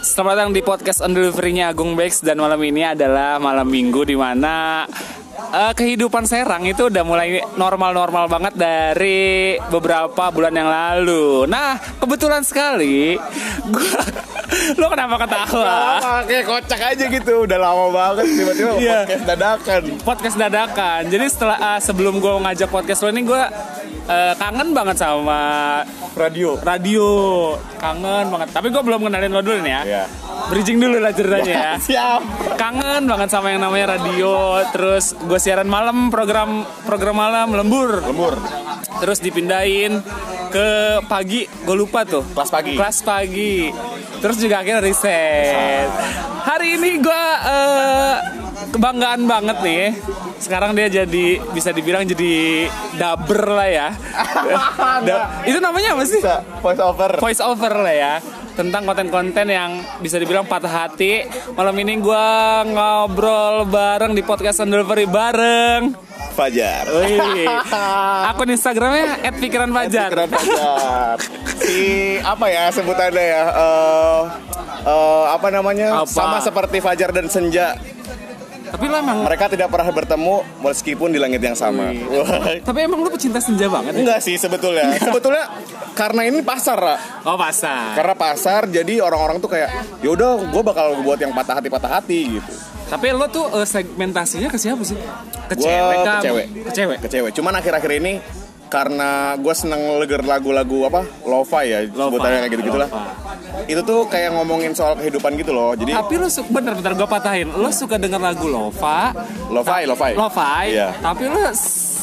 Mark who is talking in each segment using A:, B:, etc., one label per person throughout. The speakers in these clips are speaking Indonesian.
A: Selamat datang di podcast on delivery-nya Agung Bex dan malam ini adalah malam minggu di mana eh, kehidupan Serang itu udah mulai normal-normal banget dari beberapa bulan yang lalu. Nah, kebetulan sekali gua lo kenapa ketawa?
B: lama kayak kocak aja gitu udah lama banget tiba-tiba
A: Iya.
B: podcast dadakan
A: podcast dadakan. Jadi setelah eh, sebelum gue ngajak podcast lo ini gue eh, kangen banget sama
B: radio
A: radio, kangen banget. Tapi gue belum kenalin lo dulu nih ya.
B: Iya.
A: Bridging dulu lah ceritanya ya.
B: siap
A: Kangen banget sama yang namanya radio. Terus gue siaran malam program program malam lembur.
B: lembur
A: Terus dipindahin ke pagi. Gue lupa tuh.
B: Kelas pagi.
A: Kelas pagi. Terus juga akhirnya riset. Hari ini gue eh, kebanggaan banget nih. Sekarang dia jadi bisa dibilang jadi daber lah ya. Da- itu namanya apa sih?
B: bisa voice over
A: voice over lah ya tentang konten-konten yang bisa dibilang patah hati. Malam ini gua ngobrol bareng di podcast On Delivery bareng.
B: Fajar
A: Wih. Akun Instagramnya @pikiranfajar.
B: Keren Fajar si apa ya sebutannya ya Eh, eh, apa namanya
A: Apa?
B: sama seperti Fajar dan Senja
A: Tapi lo emang
B: mereka tidak pernah bertemu meskipun di langit yang sama Wah.
A: tapi emang lu pecinta senja banget. ya?
B: Enggak sih sebetulnya
A: Iya.
B: sebetulnya karena ini pasar Ra.
A: Oh pasar.
B: karena pasar jadi orang-orang tuh kayak yaudah gue bakal buat yang patah hati patah hati gitu
A: Tapi lo tuh eh, segmentasinya ke siapa sih? Ke
B: Gua
A: cewek
B: ke
A: kah?
B: cewek.
A: Ke cewek.
B: ke cewek. Cuman akhir-akhir ini karena gue seneng denger lagu-lagu apa lo-fi ya sebutannya kayak gitu gitulah itu tuh kayak ngomongin soal kehidupan gitu loh jadi
A: Tapi lo suka bener-bener gue patahin. Lo suka denger lagu Lova,
B: lo-fi lo-fi
A: Lo-fi,
B: Iya.
A: tapi lo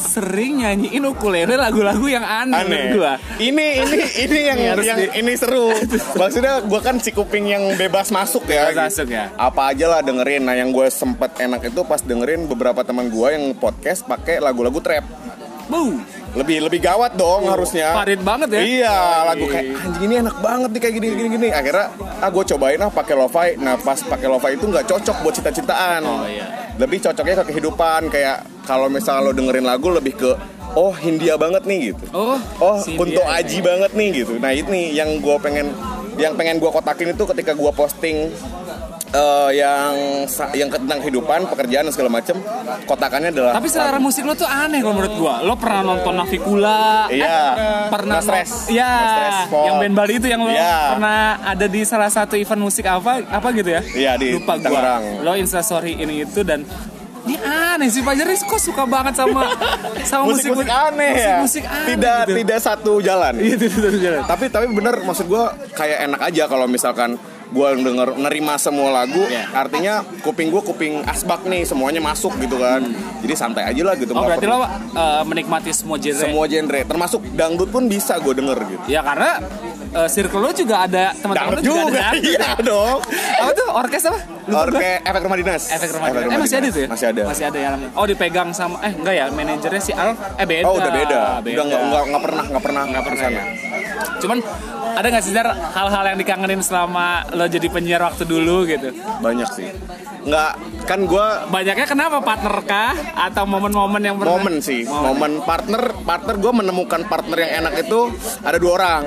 A: sering nyanyiin ukulele lagu-lagu yang aneh,
B: aneh
A: menurut gua.
B: ini ini ini yang
A: Ini harus
B: yang
A: di-
B: ini seru maksudnya gue kan si kuping yang bebas masuk ya
A: Bebas masuk ya.
B: apa aja lah dengerin nah yang gue sempet enak itu pas dengerin beberapa teman gue yang podcast pakai lagu-lagu trap
A: Bau.
B: lebih lebih gawat dong harusnya
A: Oh, parit banget ya.
B: iya lagu kayak anjing ini enak banget nih kayak gini gini gini akhirnya ah gue cobain ah pakai lo-fi nah pas pakai lo-fi itu nggak cocok buat cinta-cintaan
A: Oh, iya.
B: lebih cocoknya ke kehidupan kayak kalau misalnya lo dengerin lagu lebih ke oh Hindia banget nih gitu
A: Oh,
B: oh
A: si
B: Kunto
A: dia. iya.
B: Aji banget nih gitu nah ini yang gue pengen yang pengen gue kotakin itu ketika gue posting eh, yang sa- yang tentang kehidupan pekerjaan dan segala macem kotakannya adalah
A: Tapi selera musik lo tuh aneh kalau menurut gua. Lo pernah nonton Navikula?
B: Iya.
A: pernah
B: No Stress.
A: no- Iya.
B: No Stress, Paul.
A: yang band Bali itu yang lo
B: Iya.
A: pernah ada di salah satu event musik apa apa gitu ya?
B: Iya, di
A: Lupa gua.
B: Tangerang.
A: Lo Insta story ini itu dan ini aneh sih Fajar Ini kok suka banget sama sama musik
B: musik-musik aneh ya.
A: Musik aneh.
B: tidak
A: gitu.
B: tidak satu jalan.
A: Iya, tidak tidak jalan.
B: Tapi tapi bener maksud gue kayak enak aja kalau misalkan gue denger nerima semua lagu
A: Iya.
B: artinya kuping gue kuping asbak nih semuanya masuk gitu kan jadi santai aja lah gitu
A: Hmm. Oh
B: nggak
A: berarti
B: perlu
A: lo uh, menikmati semua genre.
B: semua genre termasuk dangdut pun bisa gue denger gitu
A: Ya karena uh, circle lo juga ada teman-teman lo
B: dangdut
A: juga, ada.
B: juga
A: dangdut.
B: iya dong
A: Apa tuh orkes apa? Lupa gua.
B: Orke efek rumah dinas
A: Efek rumah dinas. Eh masih ada
B: Dinas.
A: tuh ya?
B: masih ada
A: Masih ada ya. Oh dipegang sama eh enggak ya manajernya si Al eh beda.
B: oh udah beda,
A: Beda.
B: udah nggak nggak nggak pernah nggak pernah
A: Nggak pernah
B: kesana.
A: ya. Cuman ada nggak sih Zar hal-hal yang dikangenin selama lo jadi penyiar waktu dulu gitu?
B: banyak sih nggak kan gue
A: Banyaknya kenapa partner kah atau momen-momen yang pernah?
B: momen sih momen partner partner gue menemukan partner yang enak itu ada dua orang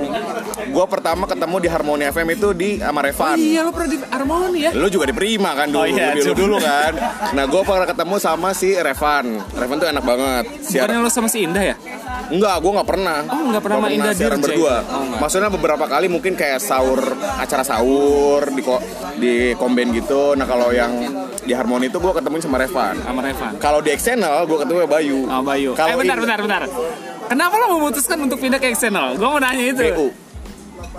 B: gue pertama ketemu di Harmony FM itu di Amar
A: Oh,
B: Evan
A: iya lo pernah di Harmoni ya?
B: lu juga di Prima kan dulu
A: Oh iya,
B: lu
A: juga.
B: dulu kan nah gue pernah ketemu sama si Revan Revan tuh enak banget siar
A: Bukannya lo sama si Indah ya?
B: enggak gue nggak pernah
A: Oh, nggak pernah main Indah
B: siaran
A: Dirje.
B: berdua
A: Oh, nggak.
B: maksudnya beberapa kali mungkin kayak sahur acara sahur di ko- di komben gitu nah kalau yang di Harmony itu gue ketemu sama Revan
A: Sama Revan.
B: kalau di External gue ketemu sama Bayu
A: Sama Bayu. Eh
B: Kalau
A: bentar,
B: ini-
A: bentar, bentar. Kenapa lo memutuskan untuk pindah ke eksternal? Gue mau nanya itu.
B: BU.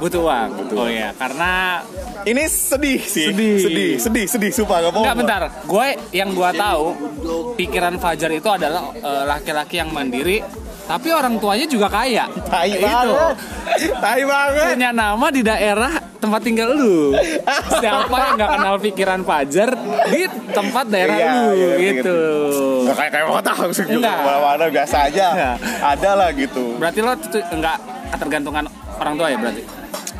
A: Butuh uang. Oh iya, karena
B: Ini sedih sih.
A: Sedih.
B: sedih, sedih, sedih, sumpah nggak mau.
A: Enggak bentar, gue yang gue tahu pikiran Fajar itu adalah eh, laki-laki yang mandiri, tapi orang tuanya juga kaya.
B: Tai
A: itu
B: banget. Tai banget.
A: punya nama di daerah tempat tinggal lu. Siapa yang nggak kenal pikiran Fajar di tempat daerah
B: Iya,
A: lu
B: iya,
A: gitu.
B: Nggak kayak kayak kota langsung juga
A: Enggak.
B: kemana-mana biasa aja.
A: Enggak.
B: Ada lah gitu.
A: Berarti lo tuh nggak ketergantungan orang tua ya berarti?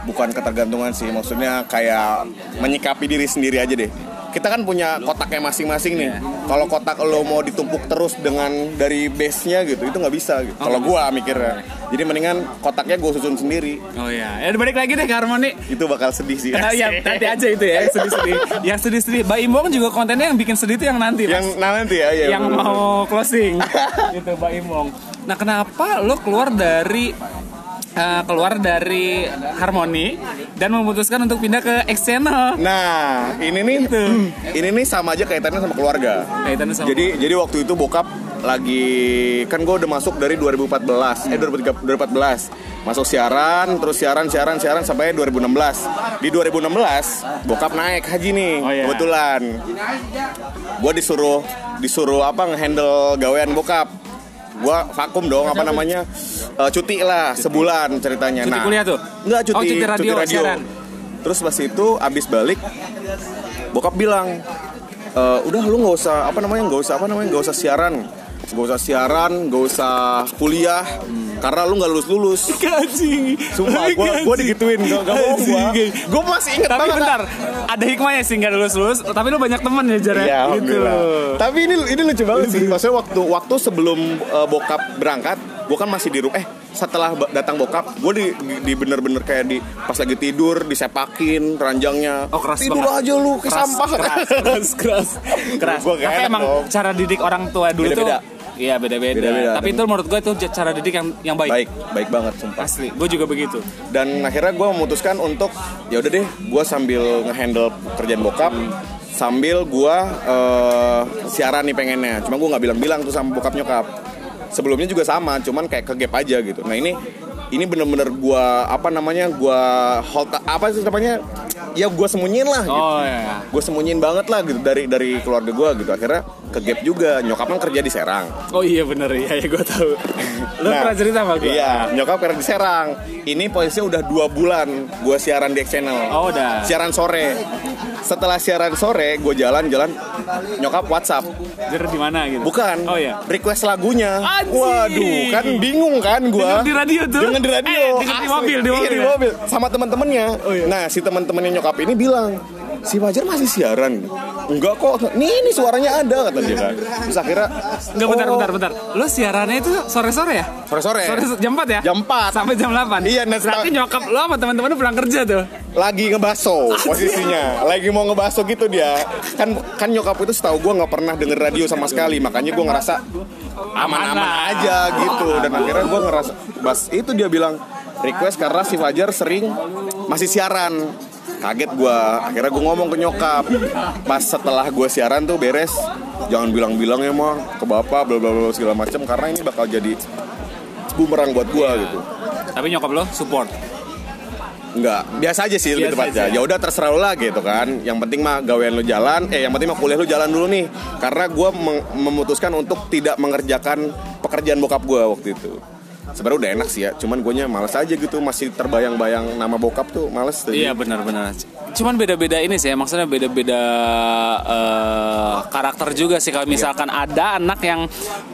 B: Bukan ketergantungan sih, maksudnya kayak menyikapi diri sendiri aja deh. kita kan punya kotaknya masing-masing
A: Iya.
B: nih. Kalau kotak lo mau ditumpuk terus dengan dari base-nya gitu, itu nggak bisa gitu. Kalau gua mikirnya. Jadi mendingan kotaknya gua susun sendiri.
A: Oh iya, ya balik lagi deh ke harmoni.
B: Itu bakal sedih sih.
A: Nah, ya, nanti aja itu ya, yang sedih-sedih. yang sedih-sedih. Mbak Imbong juga kontennya yang bikin sedih itu yang nanti, Mas.
B: Yang nanti ya, ya
A: yang
B: bener.
A: mau closing itu Mbak Imong. Nah kenapa lo keluar dari eh, keluar dari Harmoni dan memutuskan untuk pindah ke X Channel?
B: Nah, ini nih ini nih sama aja kaitannya sama keluarga.
A: Kaitannya Nah, sama
B: Jadi jadi waktu itu bokap lagi kan gue udah masuk dari 2014 eh 2013 2014 masuk siaran terus siaran siaran siaran sampai 2016 di 2016 bokap naik haji nih
A: Oh, iya.
B: kebetulan gue disuruh disuruh apa ngehandle gawean bokap gue vakum dong apa namanya Eh, cuti lah sebulan ceritanya
A: Cuti
B: Nah,
A: kuliah tuh?
B: enggak cuti
A: Oh, cuti radio, siaran.
B: terus pas itu abis balik bokap bilang e, udah lu nggak usah apa namanya nggak usah apa namanya nggak usah siaran nggak usah siaran nggak usah kuliah karena lu nggak lulus lulus
A: Anjing.
B: Sumpah, gua- gua digituin, nggak- nggak bohong gua.
A: Anjing.
B: Gua masih inget
A: Tapi
B: banget.
A: bentar, ada hikmahnya sih nggak lulus lulus. Tapi lo banyak teman ya
B: Iya,
A: Jar. ya? gitu loh.
B: tapi ini ini lucu banget sih maksudnya waktu waktu sebelum eh, bokap berangkat gue kan masih di rumah eh setelah ba- datang bokap gue di, di, di bener-bener kayak di pas lagi tidur disepakin ranjangnya
A: Oh keras
B: tidur
A: banget.
B: aja lu ke
A: Keras,
B: sampah
A: Keras, keras, keras. keras.
B: Gua gak
A: Tapi
B: enak
A: emang
B: dong.
A: cara didik orang tua dulu
B: Beda-beda.
A: tuh Iya beda-beda.
B: Beda-beda.
A: Tapi itu menurut gue itu cara didik yang yang baik.
B: baik baik banget sumpah
A: Asli, gue juga begitu.
B: dan akhirnya gue memutuskan untuk ya udah deh gue sambil ngehandle kerjaan bokap sambil gue siaran nih pengennya cuma gue nggak bilang-bilang tuh sama bokap nyokap sebelumnya juga sama cuman kayak ke gap aja gitu nah ini ini bener-bener gue apa namanya gue hold apa sih namanya ya gue sembunyiin lah gitu
A: Oh ya.
B: gue sembunyiin banget lah gitu dari dari keluarga gue gitu akhirnya ke gap juga nyokap kan kerja di Serang
A: Oh iya bener ya, ya gue tahu. Lo
B: Nah,
A: pernah cerita sama gue?
B: Iya, nyokap kerja di Serang. Ini posisinya udah dua bulan gue siaran di X Channel.
A: Oh, udah.
B: Siaran sore. Setelah siaran sore, gue jalan-jalan nyokap WhatsApp.
A: Denger di mana gitu?
B: Bukan.
A: Oh iya.
B: Request lagunya.
A: Anjing.
B: Waduh, kan bingung kan gue.
A: Denger di radio tuh?
B: Dengan di radio.
A: Eh, denger di
B: Asli.
A: mobil, di
B: Iya,
A: mobil Oh, iya. ya?
B: Sama teman-temannya. Nah, si teman-temannya nyokap ini bilang, si Fajar masih siaran. Enggak kok. Nih, ini suaranya ada kata dia kan. Terus akhirnya
A: Enggak bentar,
B: oh,
A: bentar, bentar. Lo siarannya itu sore-sore ya?
B: Sore-sore.
A: Sore jam 4 ya?
B: Jam 4.
A: Sampai jam 8?
B: Iya, nah,
A: Berarti
B: setelah-
A: nyokap lo sama teman-teman lo pulang kerja tuh?
B: lagi ngebaso posisinya lagi mau ngebaso gitu dia kan kan nyokap itu setahu gue nggak pernah denger radio sama sekali makanya gue ngerasa aman-aman
A: lah.
B: aja gitu dan akhirnya gue ngerasa bas itu dia bilang request karena si Fajar sering masih siaran kaget gue akhirnya gue ngomong ke nyokap pas setelah gue siaran tuh beres jangan bilang-bilang ya mah ke bapak bla bla bla segala macam karena ini bakal jadi bumerang buat gue gitu
A: Tapi nyokap lo support?
B: Enggak, biasa aja sih
A: Biasa
B: lebih tepatnya.
A: aja.
B: Ya udah terserah lu lah gitu kan. Yang penting mah gawean lu jalan, eh yang penting mah kuliah lu jalan dulu nih. Karena gua meng- memutuskan untuk tidak mengerjakan pekerjaan bokap gua waktu itu. Sebenarnya udah enak sih ya, cuman guanya males aja gitu masih terbayang-bayang nama bokap tuh males tuh.
A: Iya benar-benar. Cuman beda-beda ini sih, ya, maksudnya beda-beda eh, karakter juga sih.
B: Iya.
A: Kalau misalkan ada anak yang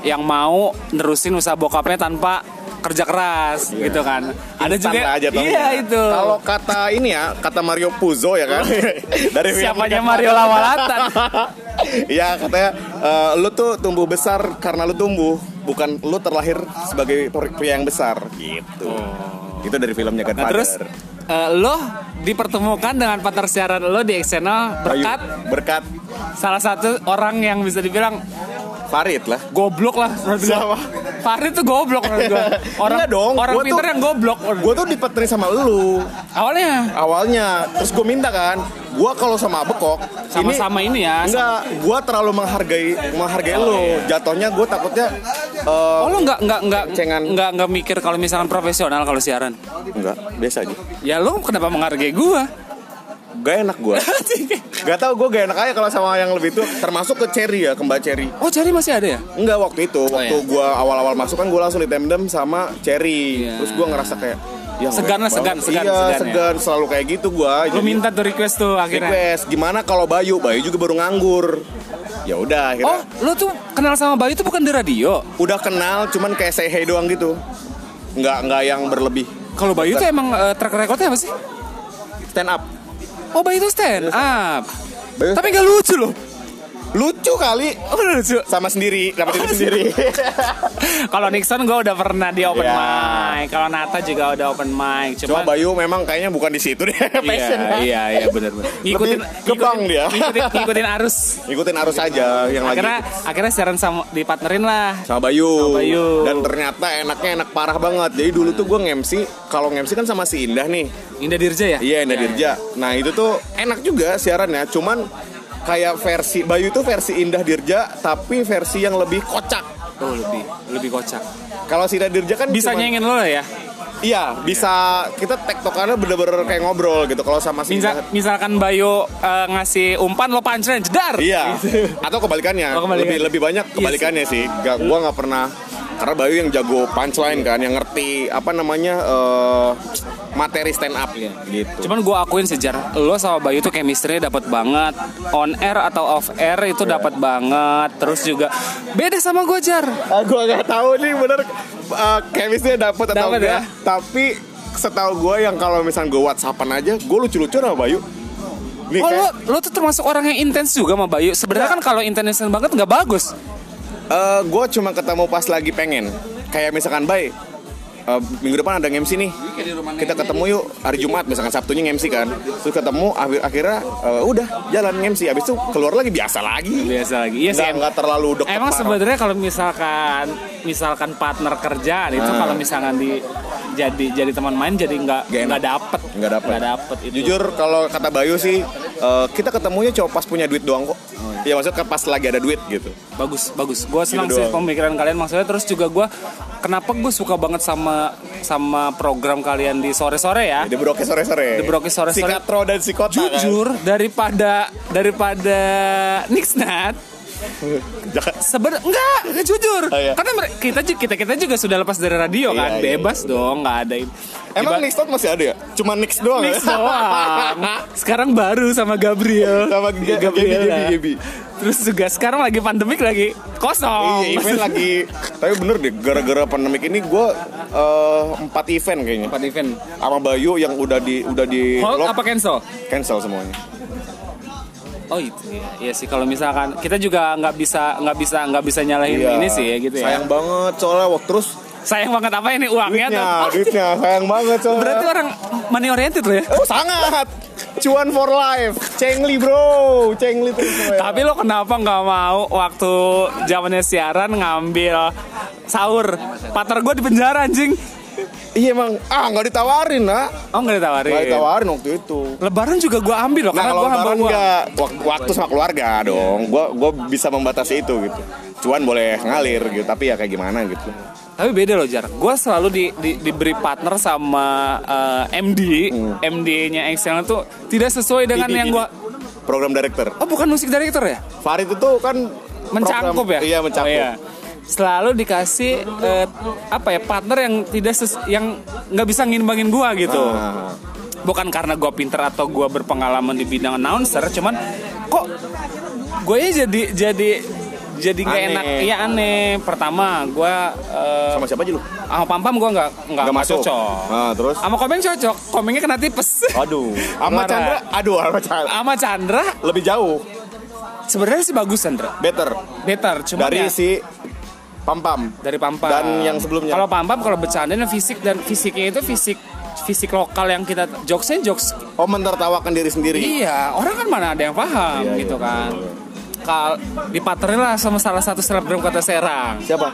A: yang mau nerusin usaha bokapnya tanpa kerja keras, gitu kan. Ada
B: Instan
A: juga.
B: lah Iya. aja tau.
A: iya itu.
B: Kalau kata ini ya, kata Mario Puzo ya kan. Dari
A: siapanya Mario Lawalatan. Nah,
B: Iya katanya eh, lu tuh tumbuh besar karena lu tumbuh bukan lu terlahir sebagai pri- pria yang besar gitu. Itu dari
A: Nah,
B: filmnya Godfather.
A: terus eh, lo dipertemukan dengan partner siaran lo di External
B: Bayu-
A: berkat
B: berkat
A: salah satu orang yang bisa dibilang
B: Farid lah.
A: goblok lah menurut gua.
B: Siapa?
A: Farid tuh goblok menurut gua. Orang
B: Enggak dong,
A: orang
B: gua
A: pinter
B: tuh-
A: yang goblok.
B: Gue tuh dipeterin sama lu
A: Awalnya
B: awalnya. Terus gue minta kan, gue kalau sama Bekok
A: sama-sama ini, ya. iya,
B: Enggak, gue terlalu menghargai menghargai lu. Jatuhnya gue takutnya eh,
A: Oh lu nggak nggak nggak
B: Cengan.
A: nggak nggak mikir kalau misalkan profesional kalau siaran?
B: enggak, biasa aja.
A: Ya lu kenapa menghargai gua?
B: Gak enak gue. Gak tau gue gak enak aja kalau sama yang lebih tua. Termasuk ke Cherry ya, ke Mbak Cherry.
A: oh cari masih ada ya?
B: Enggak waktu itu, waktu
A: iya.
B: gua awal-awal masuk kan gua langsung ditandem sama Cherry.
A: Iya.
B: Terus gua ngerasa kayak ya
A: Segan
B: nggak
A: lah, segan,
B: banget.
A: segan,
B: Iya,
A: segan ya.
B: segan, selalu kayak gitu gua.
A: Lu
B: Jadi
A: minta tuh request tuh akhirnya.
B: request gimana kalau Bayu? Bayu juga baru nganggur. Ya udah akhirnya
A: Oh lu tuh kenal sama Bayu tuh bukan di radio?
B: udah kenal cuman kayak say hey doang gitu. Enggak enggak yang berlebih.
A: Kalau Bayu tuh emang eh, track recordnya apa sih?
B: Iya, Stand up.
A: Oh Bayu tuh stand up.
B: Bagus.
A: Tapi nggak lucu loh.
B: Lucu kali
A: Oh, nggak lucu.
B: sama sendiri,
A: Oh,
B: dapat itu sendiri.
A: iya. Kalau Nixon gue udah pernah di open
B: Iya.
A: mic. Kalau Nata juga udah open mic. Cuma
B: Cuma Bayu memang kayaknya bukan di situ deh passion. kan?
A: Iya, iya, iya benar benar. Ngikutin
B: ke bank dia.
A: Ngikutin, ngikutin arus.
B: Ikutin arus aja yang lagi
A: Akhirnya akhirnya Sharon sama dipartnerin lah.
B: sama Bayu.
A: Bayu.
B: Dan ternyata enaknya enak parah banget. Jadi dulu tuh gue ngemsi, kalau ngemsi kan sama si Indah nih.
A: Indah Dirja ya?
B: Iya, Indah Dirja. Nah, itu tuh enak juga siarannya, cuman kayak versi Bayu tuh versi Indah Dirja tapi versi yang lebih kocak.
A: Oh, lebih lebih kocak.
B: Kalau si Indah Dirja kan
A: Bisa
B: cuman-
A: nyengin lo lah ya.
B: Iya, bisa kita tektokannya bener-bener kayak ngobrol gitu. Kalau sama si
A: Misal,
B: Indah-
A: misalkan Bayu eh, ngasih umpan lo punchline jedar.
B: Iya. Atau kebalikannya.
A: Oh, kebalikan.
B: Lebih lebih banyak kebalikannya sih. Gak, gua nggak pernah karena Bayu yang jago punchline kan, yang ngerti apa namanya eh, materi stand up
A: Iya,
B: gitu.
A: Cuman gue akuin sejarah lo sama Bayu tuh chemistry dapat banget on air atau off air itu dapat banget terus juga beda sama gue jar
B: Ah, gua nggak tahu nih bener eh, chemistry dapet atau
A: Dapet
B: enggak.
A: ya?
B: Tapi setahu gua yang kalau misalnya gua whatsappan aja, gua lucu-lucu sama Bayu. Nih,
A: Oh
B: kayak-
A: lo, lo tuh termasuk orang yang intens juga sama Bayu.
B: Iya.
A: Sebenarnya kan kalau intens banget nggak bagus.
B: Eh, gue cuma ketemu pas lagi pengen. Kayak misalkan Bay, eh, minggu depan ada MC nih. Kita ketemu yuk hari Jumat misalkan Sabtunya MC kan. Terus ketemu akhir akhirnya eh, udah jalan MC. Habis itu keluar lagi biasa lagi.
A: Biasa lagi. Iya sih.
B: Nggak,
A: em-
B: nggak terlalu deket
A: Emang
B: parah.
A: sebenarnya kalau misalkan misalkan partner kerjaan itu
B: Nah.
A: kalau misalkan di jadi jadi teman main jadi nggak
B: Nggak enak.
A: nggak dapet
B: Nggak dapet.
A: itu.
B: Jujur kalau kata Bayu sih eh, kita ketemunya cuma pas punya duit doang kok. Ya maksudnya pas lagi ada duit gitu.
A: bagus bagus gue senang
B: Gitu
A: sih
B: doang.
A: pemikiran kalian maksudnya terus juga gue kenapa gue suka banget sama sama program kalian di sore sore ya
B: The Broke sore-sore.
A: The Broke sore-sore.
B: Si Katro dan si Kota kan.
A: jujur daripada daripada Nixnat
B: Jangan-
A: sebenarnya enggak jujur
B: Oh, iya.
A: karena mere- kita ju- kita kita juga sudah lepas dari radio
B: Iya,
A: kan
B: iya,
A: bebas dong nggak ada ini.
B: Emang
A: Tiba-
B: Nix Talk masih ada ya? Cuma Nix doang
A: Nix
B: ya?
A: doang sekarang baru sama Gabriel
B: Sama Gabi, Gabi, Gabi, Gabi.
A: terus juga sekarang lagi pandemik lagi kosong
B: Iya event lagi Tapi bener deh Gara-gara pandemik ini gue Empat event kayaknya
A: Empat event
B: Sama Bayu yang udah di Udah di
A: hold
B: lock,
A: Oh, apa cancel
B: Cancel semuanya
A: Oh itu ya, Iya sih kalau misalkan kita juga nggak bisa nggak bisa nggak bisa nyalahin ini sih ya gitu ya.
B: Iya. Sayang banget Soalnya waktu terus
A: Sayang banget apa ini uangnya
B: Duitnya
A: tuh. Oh,
B: Duitnya Sayang banget soalnya
A: berarti orang money oriented loh ya.
B: Oh sangat Cuan for life Cengli bro Cengli terus ya. soalnya.
A: Tapi lo kenapa nggak mau waktu zamannya siaran ngambil sahur? Partner gue di penjara anjing.
B: Iya emang Ah nggak ditawarin nak
A: Oh nggak ditawarin.
B: Nggak ditawarin waktu itu
A: Lebaran juga gue ambil loh
B: Nah
A: karena
B: kalau
A: gue hamba
B: lebaran
A: gue.
B: enggak waktu, waktu sama keluarga dong Gue gua bisa membatasi itu gitu Cuan boleh ngalir gitu Tapi ya kayak gimana gitu
A: Tapi beda loh jar. Gue selalu di, di- diberi partner sama eh, MD,
B: Hmm.
A: MD-nya Excel tuh tidak sesuai dengan yang gue.
B: program director.
A: Oh bukan musik director ya?
B: Farid itu kan
A: mencangkup
B: program-
A: ya
B: Iya
A: Oh,
B: mencakup.
A: iya. selalu dikasih eh, apa ya partner yang tidak ses- yang nggak bisa ngimbangin gua gitu
B: Ah.
A: bukan karena gua pinter atau gua berpengalaman di bidang announcer cuman kok gue jadi jadi jadi nggak
B: Aneh.
A: enak iya aneh pertama gua eh,
B: Sama siapa aja lu?
A: sama pam pam gua nggak nggak
B: Nggak
A: nggak cocok
B: Nah, terus
A: sama komeng cocok komengnya kena tipes
B: aduh. Sama
A: Marah.
B: Chandra, aduh sama Chandra.
A: sama Chandra
B: Lebih jauh,
A: sebenarnya sih bagus Chandra
B: better
A: better cuman
B: dari
A: ya-
B: si Pam Pam.
A: dari Pampam.
B: Dan yang sebelumnya?
A: Kalau Pampam kalau bercandanya fisik dan fisiknya itu fisik fisik lokal yang kita jokesnya jokes
B: Oh mentertawakan diri sendiri.
A: iya orang kan mana ada yang paham
B: Iya,
A: gitu
B: iya,
A: kan. Kal dipaterin lah sama salah satu selebgram kota Serang.
B: Siapa?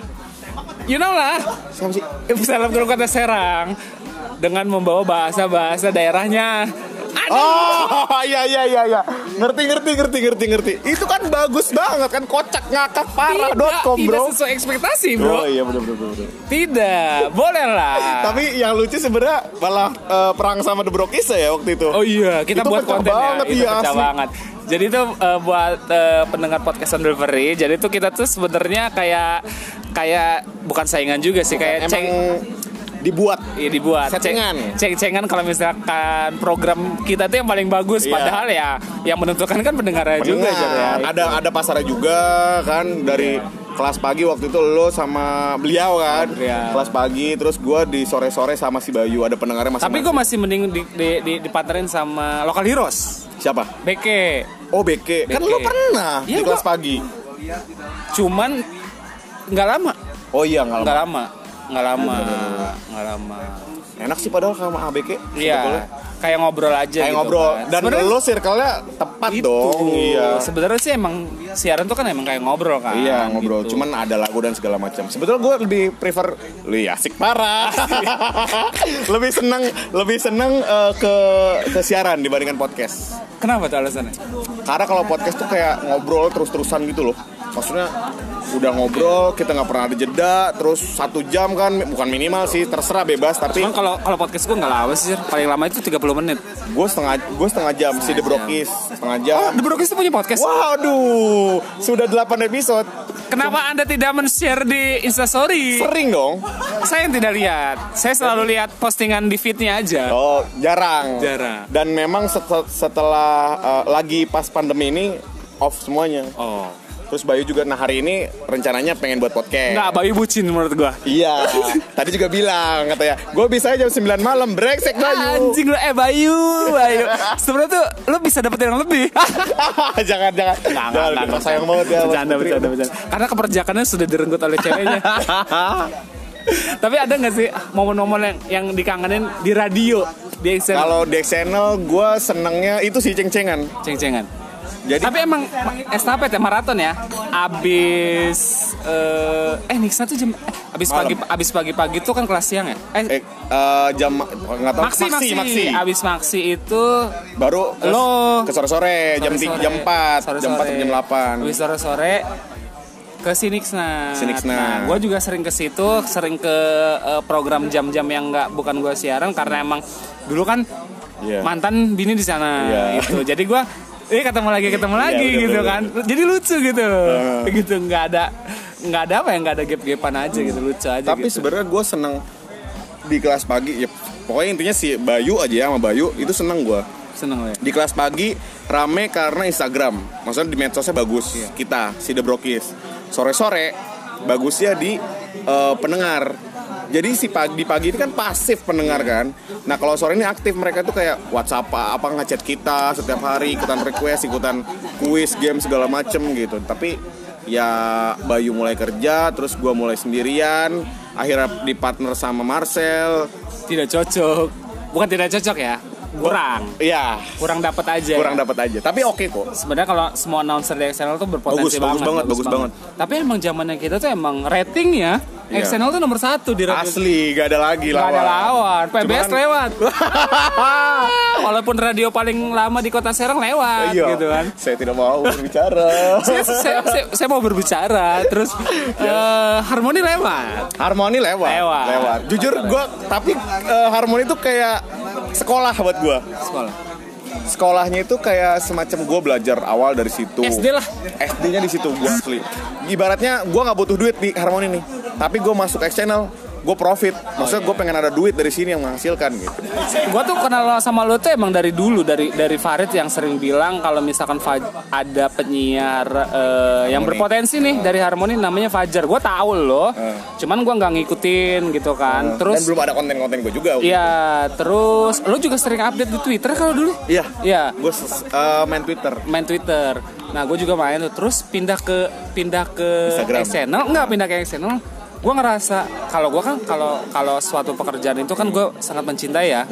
A: You know lah,
B: Siapa sih?
A: selebgram kota Serang dengan membawa bahasa-bahasa daerahnya. Aduh,
B: Oh iya iya iya iya. Ngerti ngerti ngerti ngerti ngeri. Itu kan bagus banget kan kocak ngakak parah
A: tidak,
B: dot com
A: tidak
B: bro.
A: sesuai ekspektasi bro.
B: Oh iya bener bener bener, bener.
A: Tidak, boleh lah.
B: Tapi yang lucu sebenarnya malah eh, perang sama The Brokisa ya waktu itu.
A: Oh iya, kita
B: Itu
A: buat
B: pecah
A: konten
B: banget,
A: ya. Itu
B: iya,
A: pecah
B: asli.
A: banget. Jadi itu eh, buat eh, pendengar podcast on delivery. Jadi itu kita tuh sebenarnya kayak kayak bukan saingan juga sih, kayak
B: Emang
A: ceng
B: dibuat
A: Iya dibuat
B: Settingan.
A: ceng cengan kalau misalkan program kita tuh yang paling bagus
B: Iya.
A: padahal ya yang menentukan kan pendengarnya juga
B: Pendengar.
A: jadi ya.
B: Ada ada pasarnya juga kan dari kelas pagi waktu itu lo sama beliau kan
A: Beliau.
B: kelas pagi terus gue di sore sore sama si Bayu ada pendengarnya masih
A: Tapi gue masih mending di, di, di, dipartnerin sama Local Heroes.
B: siapa
A: Beke.
B: oh BK, kan
A: BK.
B: lo pernah
A: Iya,
B: di kelas
A: gua-
B: pagi
A: Cuman nggak lama.
B: oh iya nggak lama.
A: Nggak lama. Nggak lama. Nggak lama.
B: enak sih padahal sama ABK
A: Iya.
B: sebetulnya.
A: Kayak ngobrol aja
B: kayak
A: gitu
B: ngobrol
A: kan.
B: dan
A: Sebenarnya Gitu.
B: lo circle-nya tepat
A: itu.
B: dong iya
A: Sebenarnya sih emang siaran tuh kan emang kayak ngobrol kan.
B: Iya ngobrol,
A: gitu.
B: cuman ada lagu dan segala macam. Sebetulnya gue lebih prefer, lu ya asik parah. lebih seneng, lebih seneng eh, ke ke siaran dibandingkan podcast.
A: Kenapa tuh alasannya?
B: Karena kalau podcast tuh kayak ngobrol terus-terusan gitu loh. Maksudnya udah ngobrol, kita nggak pernah ada jeda, terus satu jam kan, bukan minimal sih, terserah bebas. Tapi
A: Cuman kalau kalau podcast gue nggak lama sih, Sir. paling lama itu 30 menit.
B: gue setengah gue setengah jam si The Brokis setengah jam.
A: Oh, The Brokis tuh punya podcast.
B: Waduh, sudah 8 episode,
A: Kenapa Anda tidak men-share di Instastory?
B: sering dong.
A: Saya yang tidak lihat. Saya selalu lihat postingan di feednya aja.
B: Oh, jarang.
A: Jarang.
B: Dan memang set- setelah uh, lagi pas pandemi ini off semuanya.
A: Oh.
B: Terus Bayu juga nah hari ini rencananya pengen buat podcast.
A: Enggak, Bayu bucin menurut gua.
B: Iya. Tadi juga bilang katanya, "Gue bisa jam 9 malam, brengsek Bayu."
A: Anjing lu eh Bayu, Bayu. Sebenarnya tuh lu bisa dapetin yang lebih.
B: jangan jangan.
A: Nggak,
B: Jangan,
A: nggak, nggak.
B: sayang banget ya. Mas
A: Bercanda,
B: Putri.
A: bercanda, bercanda. Karena keperjakannya sudah direnggut oleh ceweknya. Tapi ada nggak sih momen-momen yang, yang dikangenin di radio, di Instagram?
B: Kalau Dex Channel gue senengnya itu sih ceng-cengan.
A: Ceng-cengan.
B: Jadi
A: Tapi emang estafet ya maraton ya. Abis eh, eh Nixna tuh jam eh, abis
B: Malam.
A: pagi abis pagi-pagi tuh kan kelas siang ya. Eh,
B: eh, eh, jam nggak tahu
A: maksi, maksi,
B: Maksi.
A: Abis maksi itu
B: Baru ke-
A: Lo.
B: ke sore-sore jam tiga-
A: sore-sore.
B: jam 4, jam 4
A: Sore-sore.
B: sampai jam 8.
A: Abis sore-sore ke Sinixna.
B: Sinixna.
A: Nah, gue juga sering ke situ, sering ke eh, program jam-jam yang nggak bukan gue siaran karena emang dulu kan
B: Iya.
A: mantan bini di sana
B: Iya.
A: gitu. Jadi gue eh ketemu lagi ketemu lagi
B: bener,
A: gitu
B: bener,
A: kan. Jadi lucu gitu.
B: Heeh.
A: Gitu nggak ada nggak ada apa yang nggak ada gap-gapan aja gitu lucu aja
B: tapi
A: gitu.
B: sebenarnya gue seneng di kelas pagi ya pokoknya intinya si Bayu aja ya sama Bayu itu seneng gue
A: seneng lo ya.
B: di kelas pagi rame karena Instagram maksudnya di medsosnya bagus kita si The Brokis sore-sore bagusnya di eh, pendengar jadi si pagi di pagi ini kan pasif pendengar kan nah kalau sore ini aktif mereka tuh kayak WhatsApp apa ngechat kita setiap hari ikutan request ikutan kuis game segala macem gitu tapi ya Bayu mulai kerja terus gua mulai sendirian akhirnya di partner sama Marcel
A: Tidak cocok. Bukan tidak cocok ya. Kurang.
B: ya
A: Kurang dapat aja.
B: kurang dapat aja tapi oke kok
A: sebenarnya kalau semua announcer di Excel tuh berpotensi
B: Bagus, bagus banget, bagus
A: Tapi emang zamannya kita tuh emang ratingnya
B: Iya.
A: Excel tuh nomor satu di radio.
B: Asli, gak ada lagi
A: Gak
B: lawan.
A: ada lawan. PBS
B: Cuman-
A: lewat. Walaupun radio paling lama di Kota Serang lewat
B: Iya.
A: gitu kan.
B: Saya tidak mau berbicara.
A: Saya, saya, saya- saya mau berbicara terus
B: Iya.
A: eh, harmoni lewat.
B: Harmoni lewat.
A: Lewat.
B: Jujur gue, tapi eh, Harmoni tuh kayak sekolah buat gue.
A: Sekolah.
B: Sekolahnya itu kayak semacam gue belajar awal dari situ.
A: SD lah.
B: SD-nya di situ gue asli. Ibaratnya gue nggak butuh duit di Harmoni nih, tapi gue masuk X Channel, gue profit.
A: Oh,
B: Maksudnya
A: iya.
B: gue pengen ada duit dari sini yang menghasilkan gitu.
A: Gua tuh kenal sama lo tuh emang dari dulu dari dari Farid yang sering bilang kalau misalkan Faj- ada penyiar eh, yang berpotensi nih dari Harmoni namanya Fajar. Gua tahu lo. Cuman gua nggak ngikutin gitu kan.
B: Eh. Dan
A: Terus
B: belum ada konten-konten gue juga.
A: Iya, terus lo juga sering update di Twitter kalau dulu?
B: Iya.
A: Iya,
B: Gue main Twitter.
A: main Twitter. Nah, gue juga main tuh. Terus pindah ke pindah ke
B: Instagram.
A: X Channel, enggak pindah ke X Channel. Gue ngerasa kalau gue kan kalau kalau suatu pekerjaan itu kan gue sangat mencintai ya.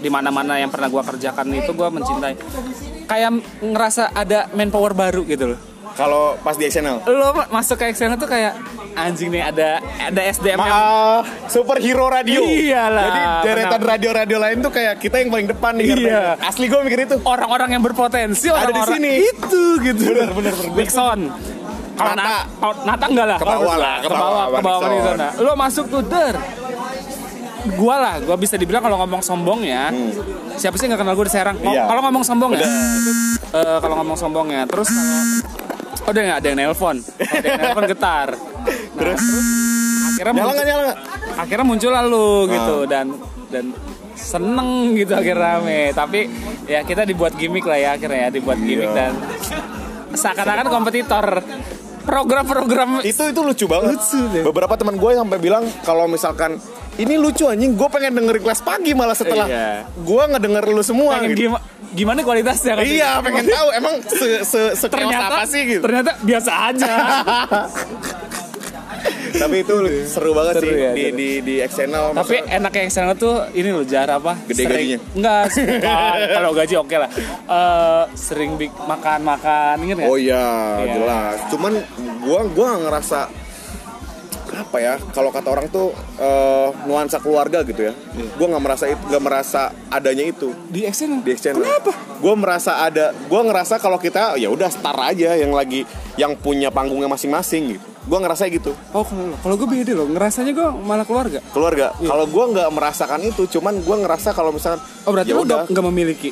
A: Di mana-mana yang pernah gue kerjakan itu gue mencintai. Kayak ngerasa ada manpower baru gitu loh.
B: Kalau pas di X Channel.
A: Lo masuk ke X Channel tuh kayak anjing nih ada ada SDM yang
B: Maaf, superhero radio.
A: Iyalah,
B: Jadi deretan
A: benar.
B: radio-radio lain tuh kayak kita yang paling depan nih.
A: Iya.
B: ngerti? Asli gue mikir itu.
A: orang-orang yang berpotensi
B: Ada di
A: orang-orang-
B: sini.
A: itu gitu
B: Bener, bener, bener.
A: Nixon kalau
B: Nata.
A: Nata Nata enggak lah
B: Ke bawah lah, ke
A: ke bawah
B: bawah,
A: ke bawah
B: Nixon.
A: Nixon, nah. lo masuk tuh der gua lah gua bisa dibilang kalau ngomong sombong ya siapa sih nggak kenal gua di Serang Ngo-
B: Hmm. Iya.
A: kalau ngomong sombong ya Eh, kalau ngomong sombong ya terus kalau- oh, udah nggak ada yang nelpon Kalau ada yang nelpon getar Nah, terus akhirnya
B: Nyala
A: muncul-
B: nggak nyala nggak?
A: akhirnya muncul lalu gitu
B: Ah.
A: dan dan seneng gitu akhirnya rame tapi ya
B: Iya.
A: kita dibuat gimmick lah ya akhirnya ya dibuat gimmick dan seakan-akan kompetitor program-program
B: itu itu lucu banget
C: Lucu deh.
B: beberapa teman gue sampai bilang kalau misalkan ini lucu anjing gue pengen dengerin kelas pagi malah setelah
A: Iya.
B: gue ngedenger lu semua
A: pengen
B: gitu.
A: gima- gimana kualitasnya kan?
B: iya pengen tahu emang se se sekelas
A: ternyata
B: apa sih gitu
A: ternyata biasa aja
B: tapi itu seru
A: Seru
B: banget sih
A: ya,
B: di,
A: seru.
B: di di eksternal
A: tapi enaknya yang sana tuh ini loh jar apa
B: Gede gajinya?
A: enggak sumpah. kalau gaji oke lah Eh, sering bik makan makan inget nggak
B: Oh iya,
A: Iya.
B: jelas. Cuman gua gua ngerasa apa ya? Kalau kata orang tuh eh, nuansa keluarga gitu ya. Gua nggak merasa itu, nggak merasa adanya itu
A: di action
B: di exchange. Kenapa? Gua merasa ada, gua ngerasa kalau kita ya udah star aja yang lagi yang punya panggungnya masing-masing gitu. Gua ngerasa gitu.
C: Oh kalau kalau gue beda loh, ngerasanya gue malah keluarga.
B: Keluarga. Kalau gua nggak merasakan itu, cuman gua ngerasa kalau misalkan
C: Oh berarti
B: ya
C: lo
B: udah,
C: nggak nggak memiliki.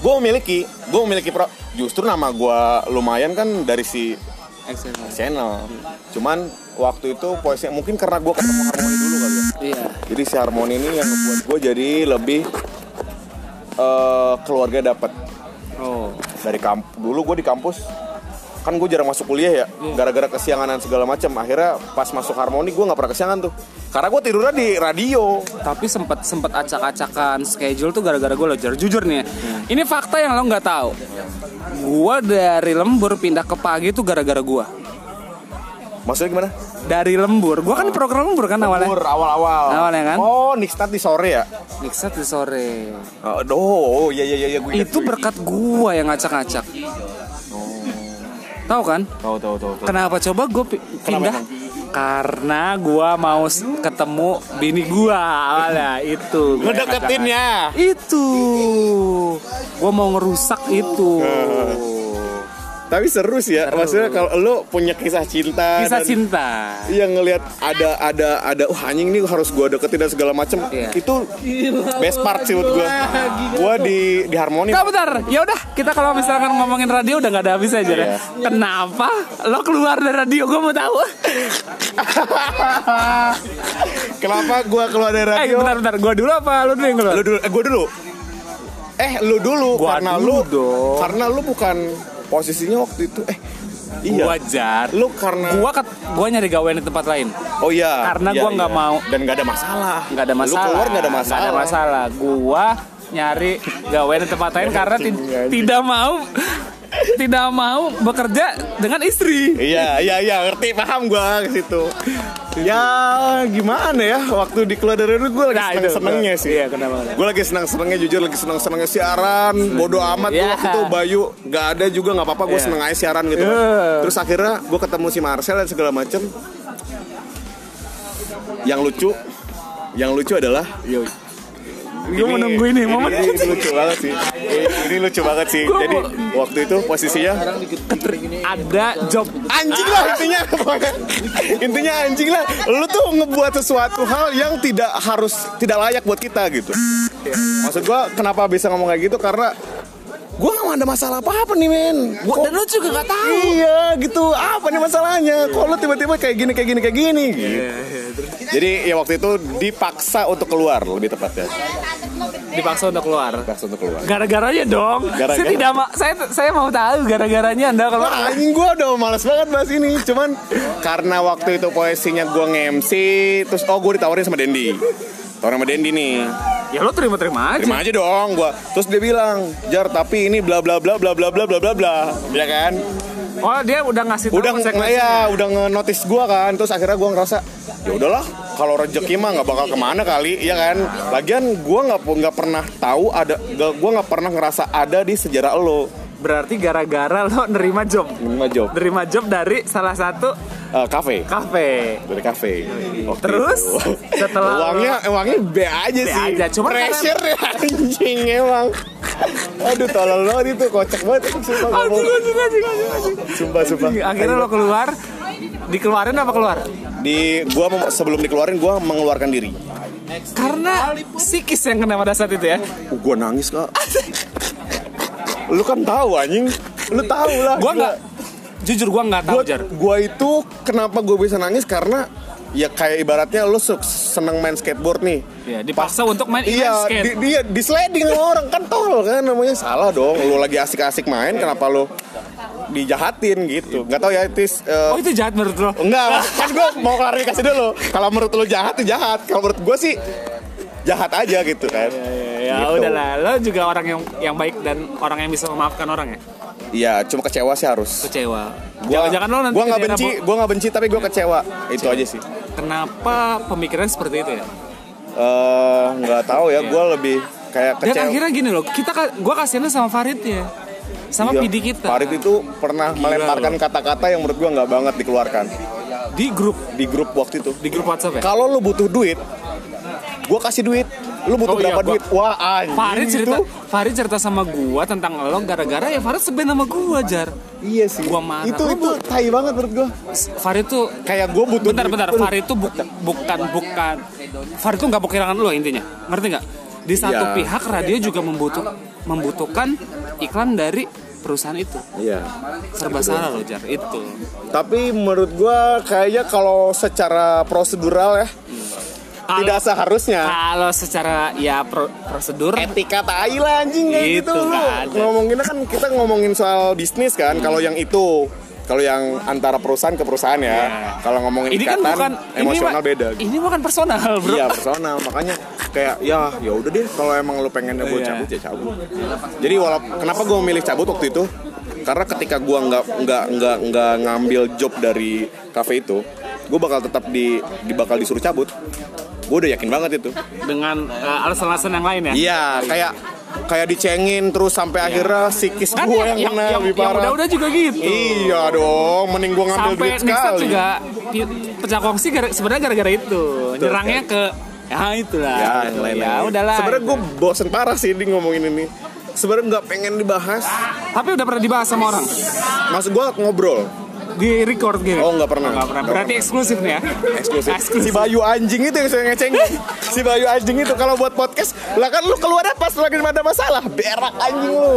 B: gua memiliki, gua memiliki pro. Justru nama gua lumayan kan dari si
C: Excellent.
B: channel. Cuman waktu itu posisinya mungkin karena gue ketemu Harmoni dulu kali ya.
C: Iya.
B: Jadi si Harmoni ini yang membuat gue jadi lebih eh, keluarga dapat
C: Oh.
B: dari kamp. Dulu gue di kampus kan gue jarang masuk kuliah ya gara-gara kesianganan segala macam akhirnya pas masuk harmoni gue nggak pernah kesiangan tuh karena gue tidurnya di radio
C: Tapi sempet sempet acak-acakan schedule tuh gara-gara gue lojar. Jujur nih, ya,
B: Hmm.
C: ini fakta yang lo nggak tahu. Gue dari lembur pindah ke pagi tuh gara-gara gue.
B: maksudnya gimana
C: Dari lembur, gue kan di program lembur kan awalnya.
B: Lembur, awal-awal
C: Awalnya kan?
B: oh Nikstat di sore ya
C: Mixet di sore.
B: oh, oh iya iya iya iya, gua ingat,
C: Itu
B: gua ingat.
C: berkat gua yang ngacak-ngacak. Tahu kan?
B: tahu tahu tahu tahu.
C: Kenapa coba gue pindah?
B: emang?
A: karena gua mau s- ketemu bini gua awalnya itu Gua yang ngajak-
B: ngedeketinnya
C: Itu. Gua mau ngerusak itu.
B: Nah, Tapi seru sih ya. Maksudnya kalau lo punya kisah cinta
A: kisah
B: dan
A: cinta
B: yang Iya, ngelihat ada ada ada wah anjing nih harus gua deketin dan segala macem
C: Iya.
B: itu best part sih menurut gua. Gua di di harmoni.
A: Nah, bentar. Ya udah, kita kalau misalkan ngomongin radio udah nggak ada habisnya aja.
B: Iya.
A: Kenapa lo keluar dari radio? Gue mau tahu.
B: Kenapa gua keluar dari
A: eh,
B: radio?
A: bentar, bentar. Gue dulu apa lo dulu yang keluar?
B: Lu dulu eh, gua dulu. Eh lu dulu
A: Gua
B: karena
A: dulu
B: lu
A: dong.
B: karena lu bukan posisinya waktu itu eh iya.
A: Gua jar.
B: Lu karena
A: Gua ket, gua nyari gawean di tempat lain.
B: oh iya.
A: Karena
B: Iya,
A: gua nggak
B: iya.
A: mau.
B: dan nggak ada masalah.
A: Nggak ada masalah.
B: Lu keluar nggak ada
A: Nggak
B: masalah.
A: ada masalah. Gua nyari gawean di tempat lain karena
B: Iya,
A: ti- tidak mau tidak mau bekerja dengan istri.
B: Iya, iya, iya, ngerti, paham gua ke situ. Ya gimana ya waktu di keluar dari dulu gue lagi
A: Nah, itu.
B: seneng senengnya sih.
A: Iya, kenapa?
B: Gue lagi seneng senengnya jujur lagi seneng senengnya siaran. Bodoh amat tuh
A: Iya.
B: waktu itu Bayu nggak ada juga nggak apa-apa gue
A: Iya.
B: seneng aja siaran gitu. kan.
A: Iya.
B: Terus akhirnya gue ketemu si Marcel dan segala macem. Yang lucu, yang lucu adalah
A: Gue menunggu ini momen
B: ini, ini lucu banget sih. Ini, ini lucu banget sih. Jadi waktu itu posisinya
A: ada job
B: anjing lah intinya pokoknya. intinya anjing lah lu tuh ngebuat sesuatu hal yang tidak harus tidak layak buat kita gitu maksud gua kenapa bisa ngomong kayak gitu karena gua gak ada masalah apa apa nih men gua
C: Dan lu juga nggak tahu.
B: iya gitu apa nih masalahnya kok lu tiba-tiba kayak gini kayak gini kayak gini gitu. jadi ya waktu itu dipaksa untuk keluar lebih tepatnya
A: dipaksa untuk keluar.
B: dipaksa untuk keluar
A: Gara-garanya dong.
B: Gara-gara.
A: Saya tidak ma- saya saya mau tahu gara-garanya Anda kalau
B: Wah, anjing gue udah males banget bahas ini Cuman karena waktu itu posisinya gue nge-MC Terus oh gue ditawarin sama Dendi Tawarin sama Dendi nih
A: ya lo terima-terima aja.
B: Terima aja dong gue Terus dia bilang Jar tapi ini bla bla bla bla bla bla bla bla bla Ya kan
A: Oh, dia udah ngasih tahu
B: Udah nge
A: konsekuensi.
B: ya, udah nge-notice gue kan Terus akhirnya gue ngerasa ya udahlah kalau rezeki mah nggak bakal kemana kali ya kan lagian gue nggak nggak pernah tahu ada gue nggak pernah ngerasa ada di sejarah lo
A: Berarti gara-gara lo nerima job.
B: Ini mah job
A: Nerima job dari salah satu
B: Eh, kafe
A: kafe.
B: dari kafe. Waktu
A: Terus,
B: itu.
A: setelah
B: uangnya eh, uangnya B aja
A: B
B: sih.
A: aja, cuman
B: pressure ya anjing emang. Aduh tolol banget itu kocak banget sumpah
A: Anjing,
B: ngomong.
A: anjing, anjing, anjing, anjing.
B: Sumpah sumpah.
A: Akhirnya lo keluar. Dikeluarin apa keluar?
B: di gua mem- sebelum dikeluarin gua mengeluarkan diri.
A: Karena psikis yang kena pada saat itu ya.
B: Uh, gua nangis kak. Lu kan tahu anjing. Lu tahu lah.
A: Gua nggak jujur gua nggak tahu
B: gua,
A: jar.
B: gua itu kenapa gue bisa nangis karena ya kayak ibaratnya lu su- seneng main skateboard nih
A: Ya, dipaksa untuk main inline
B: Iya,
A: skate.
B: di, dia di sliding sama orang kan tol kan namanya salah dong. Lu lagi asik-asik main kenapa lu dijahatin gitu. Nggak tahu ya Tis. eh,
A: Oh itu jahat menurut lo?
B: Enggak, kan gue mau klarifikasi dulu. Kalau menurut lu jahat, tuh jahat. Kalau menurut gue sih jahat aja gitu kan.
A: Ya
B: Gitu.
A: udahlah, lo juga orang yang yang baik dan orang yang bisa memaafkan orang ya.
B: Iya, cuma kecewa sih harus.
A: Kecewa.
B: Gua
A: Jangan-jangan lo nanti
B: gua nggak
A: ke daerah
B: benci,
A: Bo-
B: gua nggak benci tapi gue kecewa. Itu aja sih.
A: Kenapa pemikiran seperti itu ya?
B: Eh, nggak tahu ya, gue lebih kayak
A: Dan
B: kecewa.
A: akhirnya gini loh, kita ka- gua kasihannya sama Farid ya. Sama
B: Iya,
A: PD kita.
B: Farid itu pernah melemparkan kata-kata yang menurut gue nggak banget dikeluarkan
A: di grup
B: di grup waktu itu.
A: di grup WhatsApp ya.
B: Kalau lu butuh duit, gue kasih duit. Lu butuh
A: Oh iya,
B: berapa
A: gua-
B: duit? Wah, anjing
A: Farid cerita
B: itu.
A: Farid cerita sama gua tentang lo gara-gara ya Farid sebenarnya sama gua, Jar.
B: Iya sih.
A: Gua marah.
B: Itu
A: Lu
B: itu tai banget menurut gue.
A: Farid tuh
B: Kayak gue butuh
A: bentar
B: duit.
A: bentar
B: Lu-
A: Farid tuh bu- bukan bukan Farid tuh nggak mau kehilangan lo intinya ngerti nggak di satu
B: Iya.
A: pihak radio juga membutuh membutuhkan iklan dari perusahaan itu
B: Iya.
A: serba salah lo jar itu
B: Tapi menurut gua kayaknya kalau secara prosedural ya
A: Kalau-
B: tidak seharusnya
A: kalau secara ya pro- prosedur
B: etika tai lah anjing kayak
A: Itu
B: gitu lu.
A: nggak ada.
B: Ngomonginnya kan kita ngomongin soal bisnis kan
A: Hmm.
B: kalau yang itu kalau yang antara perusahaan ke perusahaan ya. Kalau ngomongin
A: Iya. ini kan
B: ikatan
A: bukan
B: emosional
A: ini,
B: beda. gitu.
A: ini bukan personal bro
B: Iya personal makanya kayak ya ya udah deh kalau emang lu pengennya gue
A: Iya.
B: cabut ya cabut. Jadi walau kenapa gue memilih cabut waktu itu? Karena ketika gue nggak nggak nggak nggak ngambil job dari kafe itu, gue bakal tetap di, di- bakal disuruh cabut. Gue udah yakin banget itu.
A: dengan eh, alasan-alasan yang lain ya
B: Iya kayak kayak dicengin terus sampai akhirnya psikis
A: kan yang
B: gue Iya. ya, yang
A: yang,
B: kena
A: yang,
B: lebih
A: yang
B: parah.
A: udah-udah juga gitu
B: Iya dong, mending gue ngambil
A: sampai
B: duit
A: Nixon
B: sekali.
A: juga pi- pecah kongsi gara- sebenarnya gara-gara itu nyerangnya ke ya itulah
B: kan? ya yang lain
A: ya udahlah
B: sebenarnya gue bosen parah sih di ngomongin ini sebenarnya nggak pengen dibahas
A: tapi udah pernah dibahas sama orang
B: maksud gue ngobrol
A: di record gitu
B: Oh, nggak pernah.
A: nggak pernah
B: Nggak
A: berarti
B: pernah.
A: eksklusif nih ya
B: eksklusif. si
A: eksklusif
B: Bayu anjing itu yang saya ngecengin si Bayu anjing itu kalau buat podcast lah kan lu keluar pas lagi ada masalah berak anjing lu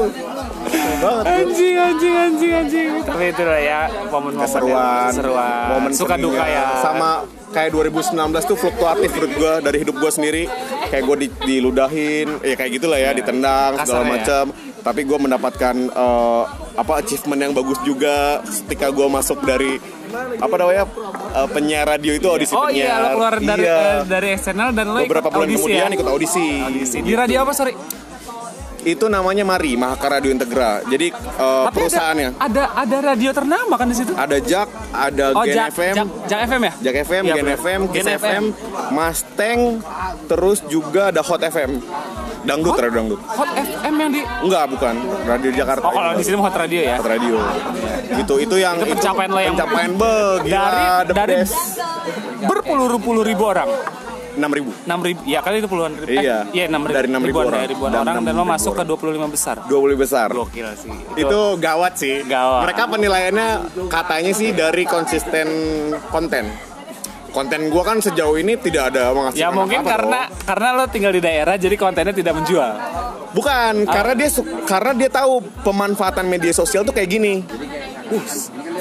B: banget
A: anjing anjing anjing anjing tapi itu lah ya momen momen
B: keseruan
A: seruan
B: momen
A: suka
B: seninya.
A: duka ya
B: sama kayak 2019 tuh fluktuatif menurut gue dari hidup gue sendiri kayak gue diludahin ya kayak gitulah ya ditendang
A: Kasarnya Iya.
B: segala
A: ya.
B: macam tapi gue mendapatkan eh, apa achievement yang bagus juga ketika gue masuk dari apa namanya eh, penyiar radio itu audisi
A: oh iya
B: penyiar
A: lo keluar dari
B: Iya.
A: eh, dari channel dan lo
B: beberapa
A: ikut
B: bulan
A: audisi
B: kemudian
A: ya?
B: ikut Oh, audisi,
A: Audisi. di radio apa sorry
B: itu namanya Mari Mahaka Radio Integra jadi eh,
A: tapi
B: perusahaannya
A: ada, ada ada radio ternama kan di situ
B: ada Jak ada
A: oh
B: Gen
A: Jak
B: FM
A: Jak, Jak FM ya
B: Jak FM,
A: Iya,
B: Gen
A: bener.
B: FM, Kiss
A: Gen
B: FM, Mustang, terus juga ada Hot FM. Dangdut,
A: Hot?
B: radio dangdut.
A: Hot FM yang di
B: Enggak, bukan. Radio Jakarta.
A: Oh kalau di sini Hot Radio ya.
B: Hot radio. Gitu, itu yang
A: Itu pencapaian lo yang-
B: pencapaian be, gila,
A: Dari
B: Ah, the
A: dari
B: best.
A: berpuluh-puluh ribu orang.
B: 6000.
A: enam ribu, ya kan itu puluhan ribu.
B: Iya.
A: iya 6 ribu.
B: Dari 6.000
A: ribuan,
B: orang.
A: ya, ribuan
B: Dan
A: orang dan lo
B: 6.000
A: masuk ke 25 besar.
B: 20 besar.
A: Gokil sih.
B: Itu gawat sih.
A: Gawat.
B: Mereka penilaiannya katanya sih dari konsisten konten. Konten gua kan sejauh ini tidak ada menghasilkan
A: Ya mungkin
B: apa-apa
A: karena
B: dong.
A: karena lo tinggal di daerah jadi kontennya tidak menjual.
B: bukan
A: Ah.
B: karena dia su- karena dia tahu pemanfaatan media sosial tuh kayak gini.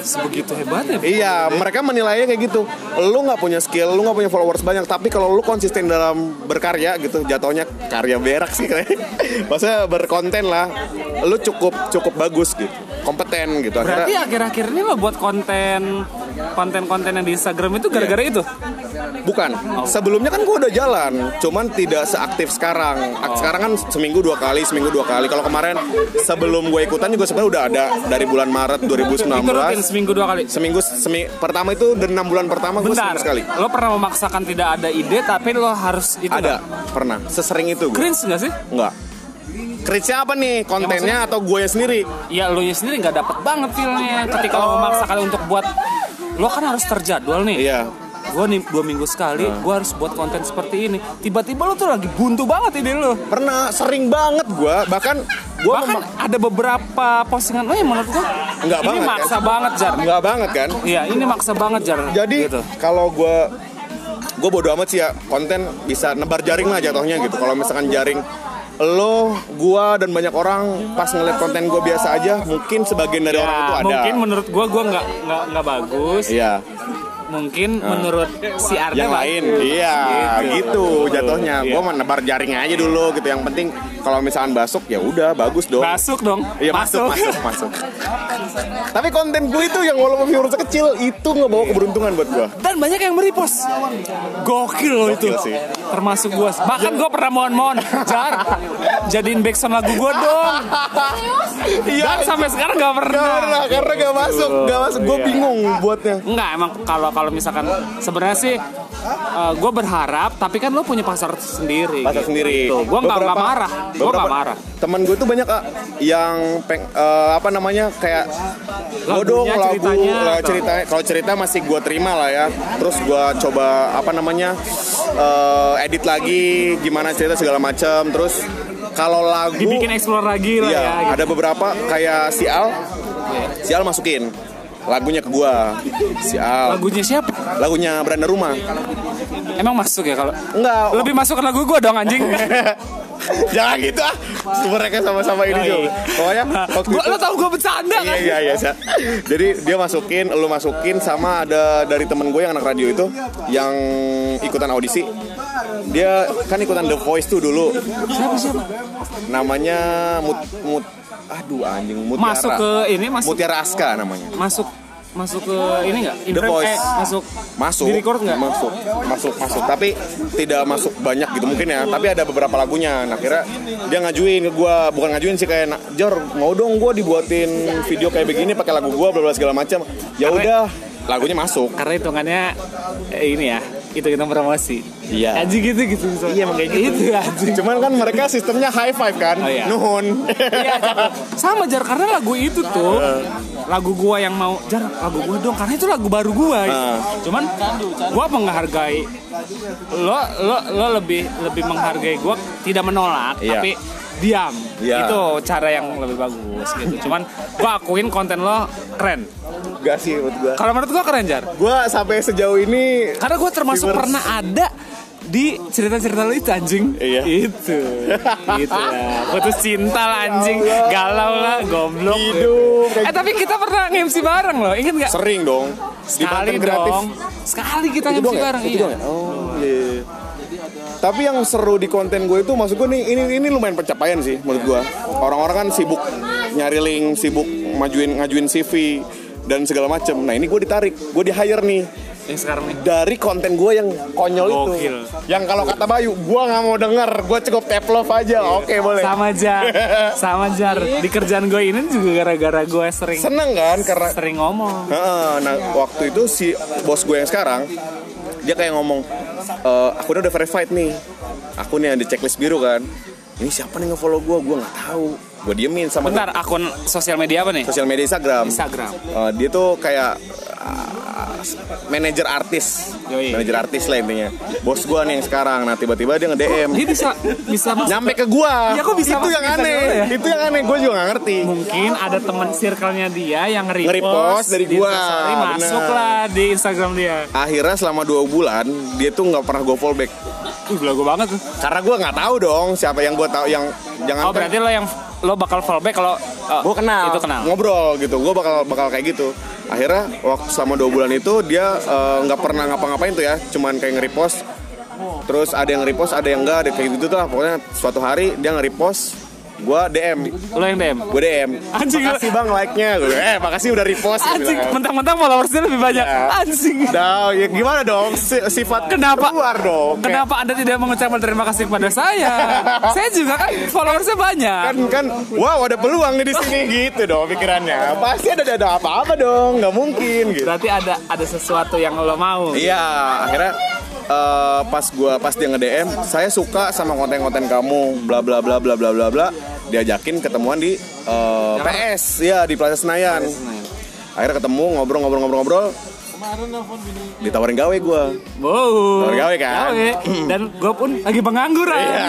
A: Sebegitu ya. hebatnya.
B: Iya, mereka menilainya kayak gitu. Lu nggak punya skill, lu nggak punya followers banyak, tapi kalau lu konsisten dalam berkarya gitu, jatuhnya karya berak sih kayaknya. Maksudnya berkonten lah. Lu cukup cukup bagus gitu, kompeten gitu. Akhirnya-
A: Berarti akhir-akhir ini lo buat konten konten-konten yang di Instagram itu
B: Iya.
A: gara-gara itu.
B: Bukan. Sebelumnya kan gua udah jalan, cuman tidak seaktif sekarang. Ak- Sekarang kan seminggu dua kali, seminggu dua kali. Kalau kemarin sebelum gue ikutan juga sebenarnya udah ada dari bulan Maret
A: Itu rutin
B: 2019.
A: seminggu dua kali.
B: Seminggu semi pertama itu dari enam bulan pertama gue
A: Bentar.
B: seminggu sekali.
A: Lo pernah memaksakan tidak ada ide tapi lo harus itu.
B: Ada,
A: nggak?
B: pernah. Sesering itu gue.
A: Cringe nggak sih?
B: Enggak. Cringe-nya apa nih? Kontennya atau gue sendiri?
A: ya lo sendiri nggak dapet banget feelnya ketika
B: Oh.
A: lo memaksakan untuk buat lo kan harus terjadwal nih
B: Iya. Nah.
A: gue nih dua minggu sekali gue harus buat konten seperti ini tiba-tiba lo tuh lagi buntu banget ide lo
B: Pernah sering banget gue, bahkan gue
A: bahkan ada beberapa postingan lo yang menurut gue
B: Nggak
A: ini
B: banget,
A: maksa
B: kan?
A: banget jar
B: enggak banget kan?
A: iya ini maksa banget jar
B: Jadi
A: Gitu.
B: kalau gue gue bodo amat sih ya konten bisa nebar jaring lah jatuhnya gitu. Kalau misalkan jaring lo, gua dan banyak orang pas ngeliat konten gue biasa aja, mungkin sebagian dari
A: Ya,
B: orang itu ada.
A: mungkin menurut gue gue nggak nggak nggak bagus
B: Iya.
A: mungkin menurut si Arda
B: yang
A: Pak,
B: lain iya gitu, jatuhnya gue menebar jaringnya aja dulu gitu yang penting kalau misalkan basuk ya udah bagus dong
A: masuk dong
B: Iya masuk masuk masuk. Tapi konten gue itu yang walaupun viewersnya kecil itu ngebawa keberuntungan buat gue.
A: dan banyak yang meripos gokil loh itu
B: Gokil sih.
A: termasuk gue bahkan gue pernah mohon-mohon jar jadiin backsound lagu gue dong dan Iya, sampai sekarang gak
B: Gak
A: pernah Iya.
B: pernah karena gak masuk, gak masuk. Gue bingung buatnya.
A: Enggak emang kalau kalau misalkan sebenarnya sih gue berharap tapi kan lo punya pasar sendiri.
B: Pasar sendiri.
A: Gue nggak nggak
B: Beberapa-
A: marah. Gue
B: beberapa
A: nggak marah.
B: Temen gue tuh banyak ah, yang peng, eh, apa namanya kayak
A: Lagunya,
B: godong lagu
A: ceritanya,
B: lah,
A: atau-
B: ceritanya. Kalau cerita masih gue terima lah ya. Terus gue coba apa namanya eh, edit lagi gimana cerita segala macam. Terus kalau lagu
A: Dibikin explore lagi lah
B: Iya,
A: ya. gitu.
B: ada beberapa kayak si Al. Si Al masukin lagunya ke gua. Si Al.
A: Lagunya siapa?
B: Lagunya Beranda Rumah.
A: Emang masuk ya kalau
B: Enggak. oh.
A: lebih masuk ke lagu gue dong anjing.
B: Jangan gitu ah. Mereka sama-sama ini juga. Pokoknya waktu
A: Iya, Gua-
B: itu-
A: lo tau gue bercanda kan?
B: Iya iya iya. Sa. Jadi dia masukin, lu masukin sama ada dari temen gue yang anak radio itu yang ikutan audisi. Dia kan ikutan The Voice tuh dulu.
A: Siapa siapa?
B: Namanya Mut Mut Aduh anjing Mutiara.
A: Masuk ke ini masuk
B: Mutiara Aska namanya.
A: masuk masuk ke ini nggak?
B: The
A: Inframe-
B: Voice.
A: eh, masuk
B: masuk
A: Di record nggak?
B: masuk masuk masuk tapi tidak masuk banyak gitu mungkin ya tapi ada beberapa lagunya nah akhirnya dia ngajuin ke gua bukan ngajuin sih kayak "Nak, Jor mau dong gua dibuatin video kayak begini pakai lagu gua bla bla segala macam ya udah lagunya masuk
A: karena hitungannya eh, ini ya itu hitung promosi.
B: Iya.
A: Anjing gitu gitu. Iya makanya gitu. Itu anjing.
B: cuman kan mereka sistemnya high five kan
A: Oh, iya.
B: nuhun
A: Iya, Jar. sama jar karena lagu itu tuh lagu gua yang mau jar lagu gua dong karena itu lagu baru gua.
B: Ah.
A: Cuman gua menghargai lo lo lo lebih lebih menghargai gua tidak menolak
B: Iya.
A: tapi diam.
B: Iya.
A: Itu cara yang lebih bagus gitu. Cuman gua akuin konten lo keren.
B: gak sih menurut gua
A: Kalau menurut gua keren jar.
B: gua sampai sejauh ini
A: Karena gua termasuk
B: Viewers.
A: pernah ada di cerita-cerita lo itu anjing
B: Iya.
A: Itu Gitu lah Putus cinta lah anjing Galau lah Goblok
B: Ya hidup kayak
A: Eh tapi kita pernah nge-MC bareng loh, inget nggak?
B: sering dong di
A: Sekali
B: Banten gratis
A: dong. Sekali kita
B: Itu
A: nge-MC
B: doang ya?
A: bareng.
B: Itu
A: iya.
B: doang ya? Oh, iya. Tapi yang seru di konten gue itu maksud gue nih ini ini lumayan pencapaian sih menurut gue. Orang-orang kan sibuk nyari link, sibuk majuin ngajuin CV dan segala macem. Nah ini gue ditarik, gue di hire nih
A: Yang sekarang nih.
B: dari konten gue yang konyol
A: Gokil.
B: itu. Yang kalau kata Bayu, gue nggak mau denger, gue cukup tap love aja. Oke boleh.
A: Sama jar, sama jar. Di kerjaan gue ini juga gara-gara gue sering
B: Seneng kan karena
A: sering ngomong.
B: Heeh, nah waktu itu si bos gue yang sekarang dia kayak ngomong e, akunnya udah verified nih akunnya ada checklist biru kan ini siapa nih ngefollow gue gue nggak tahu gue diemin sama
A: Bentar, akun sosial media apa nih?
B: sosial media Instagram
A: Instagram.
B: Eh, dia tuh kayak ah, manajer artis
A: Yoi.
B: manajer artis lah intinya bos gue nih yang sekarang nah tiba-tiba dia nge DM
A: Dia bisa bisa masuk-
B: nyampe ke gua
A: Ya, gitu? kok bisa
B: itu
A: masuk
B: yang
A: Instagram
B: aneh
A: ya?
B: itu yang aneh gue juga gak ngerti
A: mungkin ada teman circle-nya dia yang
B: Nge-repost
A: nge-repost
B: dari
A: di
B: gua,
A: Instastory,
B: bener.
A: masuklah di Instagram dia.
B: akhirnya selama dua bulan dia tuh nggak pernah gue follow back
A: Ih, lagu banget tuh.
B: karena gue nggak tahu dong siapa yang gue tahu yang jangan
A: Oh, berarti lo yang lo bakal follow back kalau uh,
B: gue kenal
A: Itu kenal.
B: ngobrol gitu gue bakal bakal kayak gitu akhirnya waktu selama dua bulan itu dia eh, nggak pernah ngapa-ngapain tuh ya cuman kayak nge-repost terus ada yang repost ada yang enggak ada kayak gitu tuh lah. pokoknya suatu hari dia nge-repost gue DM
A: Lo yang DM.
B: gue DM
A: Anjing,
B: makasih bang like-nya gue bilang, eh makasih udah repost Gue
A: Anjing,
B: bilang.
A: mentang-mentang followersnya lebih banyak.
B: Ya.
A: Anjing.
B: Dah, ya gimana dong si- sifat
A: Kenapa-
B: keluar dong Kayak-
A: Kenapa Anda tidak mengucapkan terima kasih kepada saya? saya juga kan followersnya banyak.
B: kan kan wow ada peluang nih di sini gitu dong pikirannya pasti ada ada apa-apa dong nggak mungkin gitu
A: Berarti ada ada sesuatu yang lo mau.
B: iya akhirnya eh, pas gua pas dia nge DM saya suka sama konten-konten kamu bla bla bla bla bla bla bla diajakin ketemuan di eh, PS ya di Plaza Senayan akhirnya ketemu ngobrol ngobrol ngobrol ngobrol ditawarin gawe gua
A: Wow.
B: Tawarin gawe kan?
A: Gawe. Dan gue pun lagi pengangguran.
B: Iya.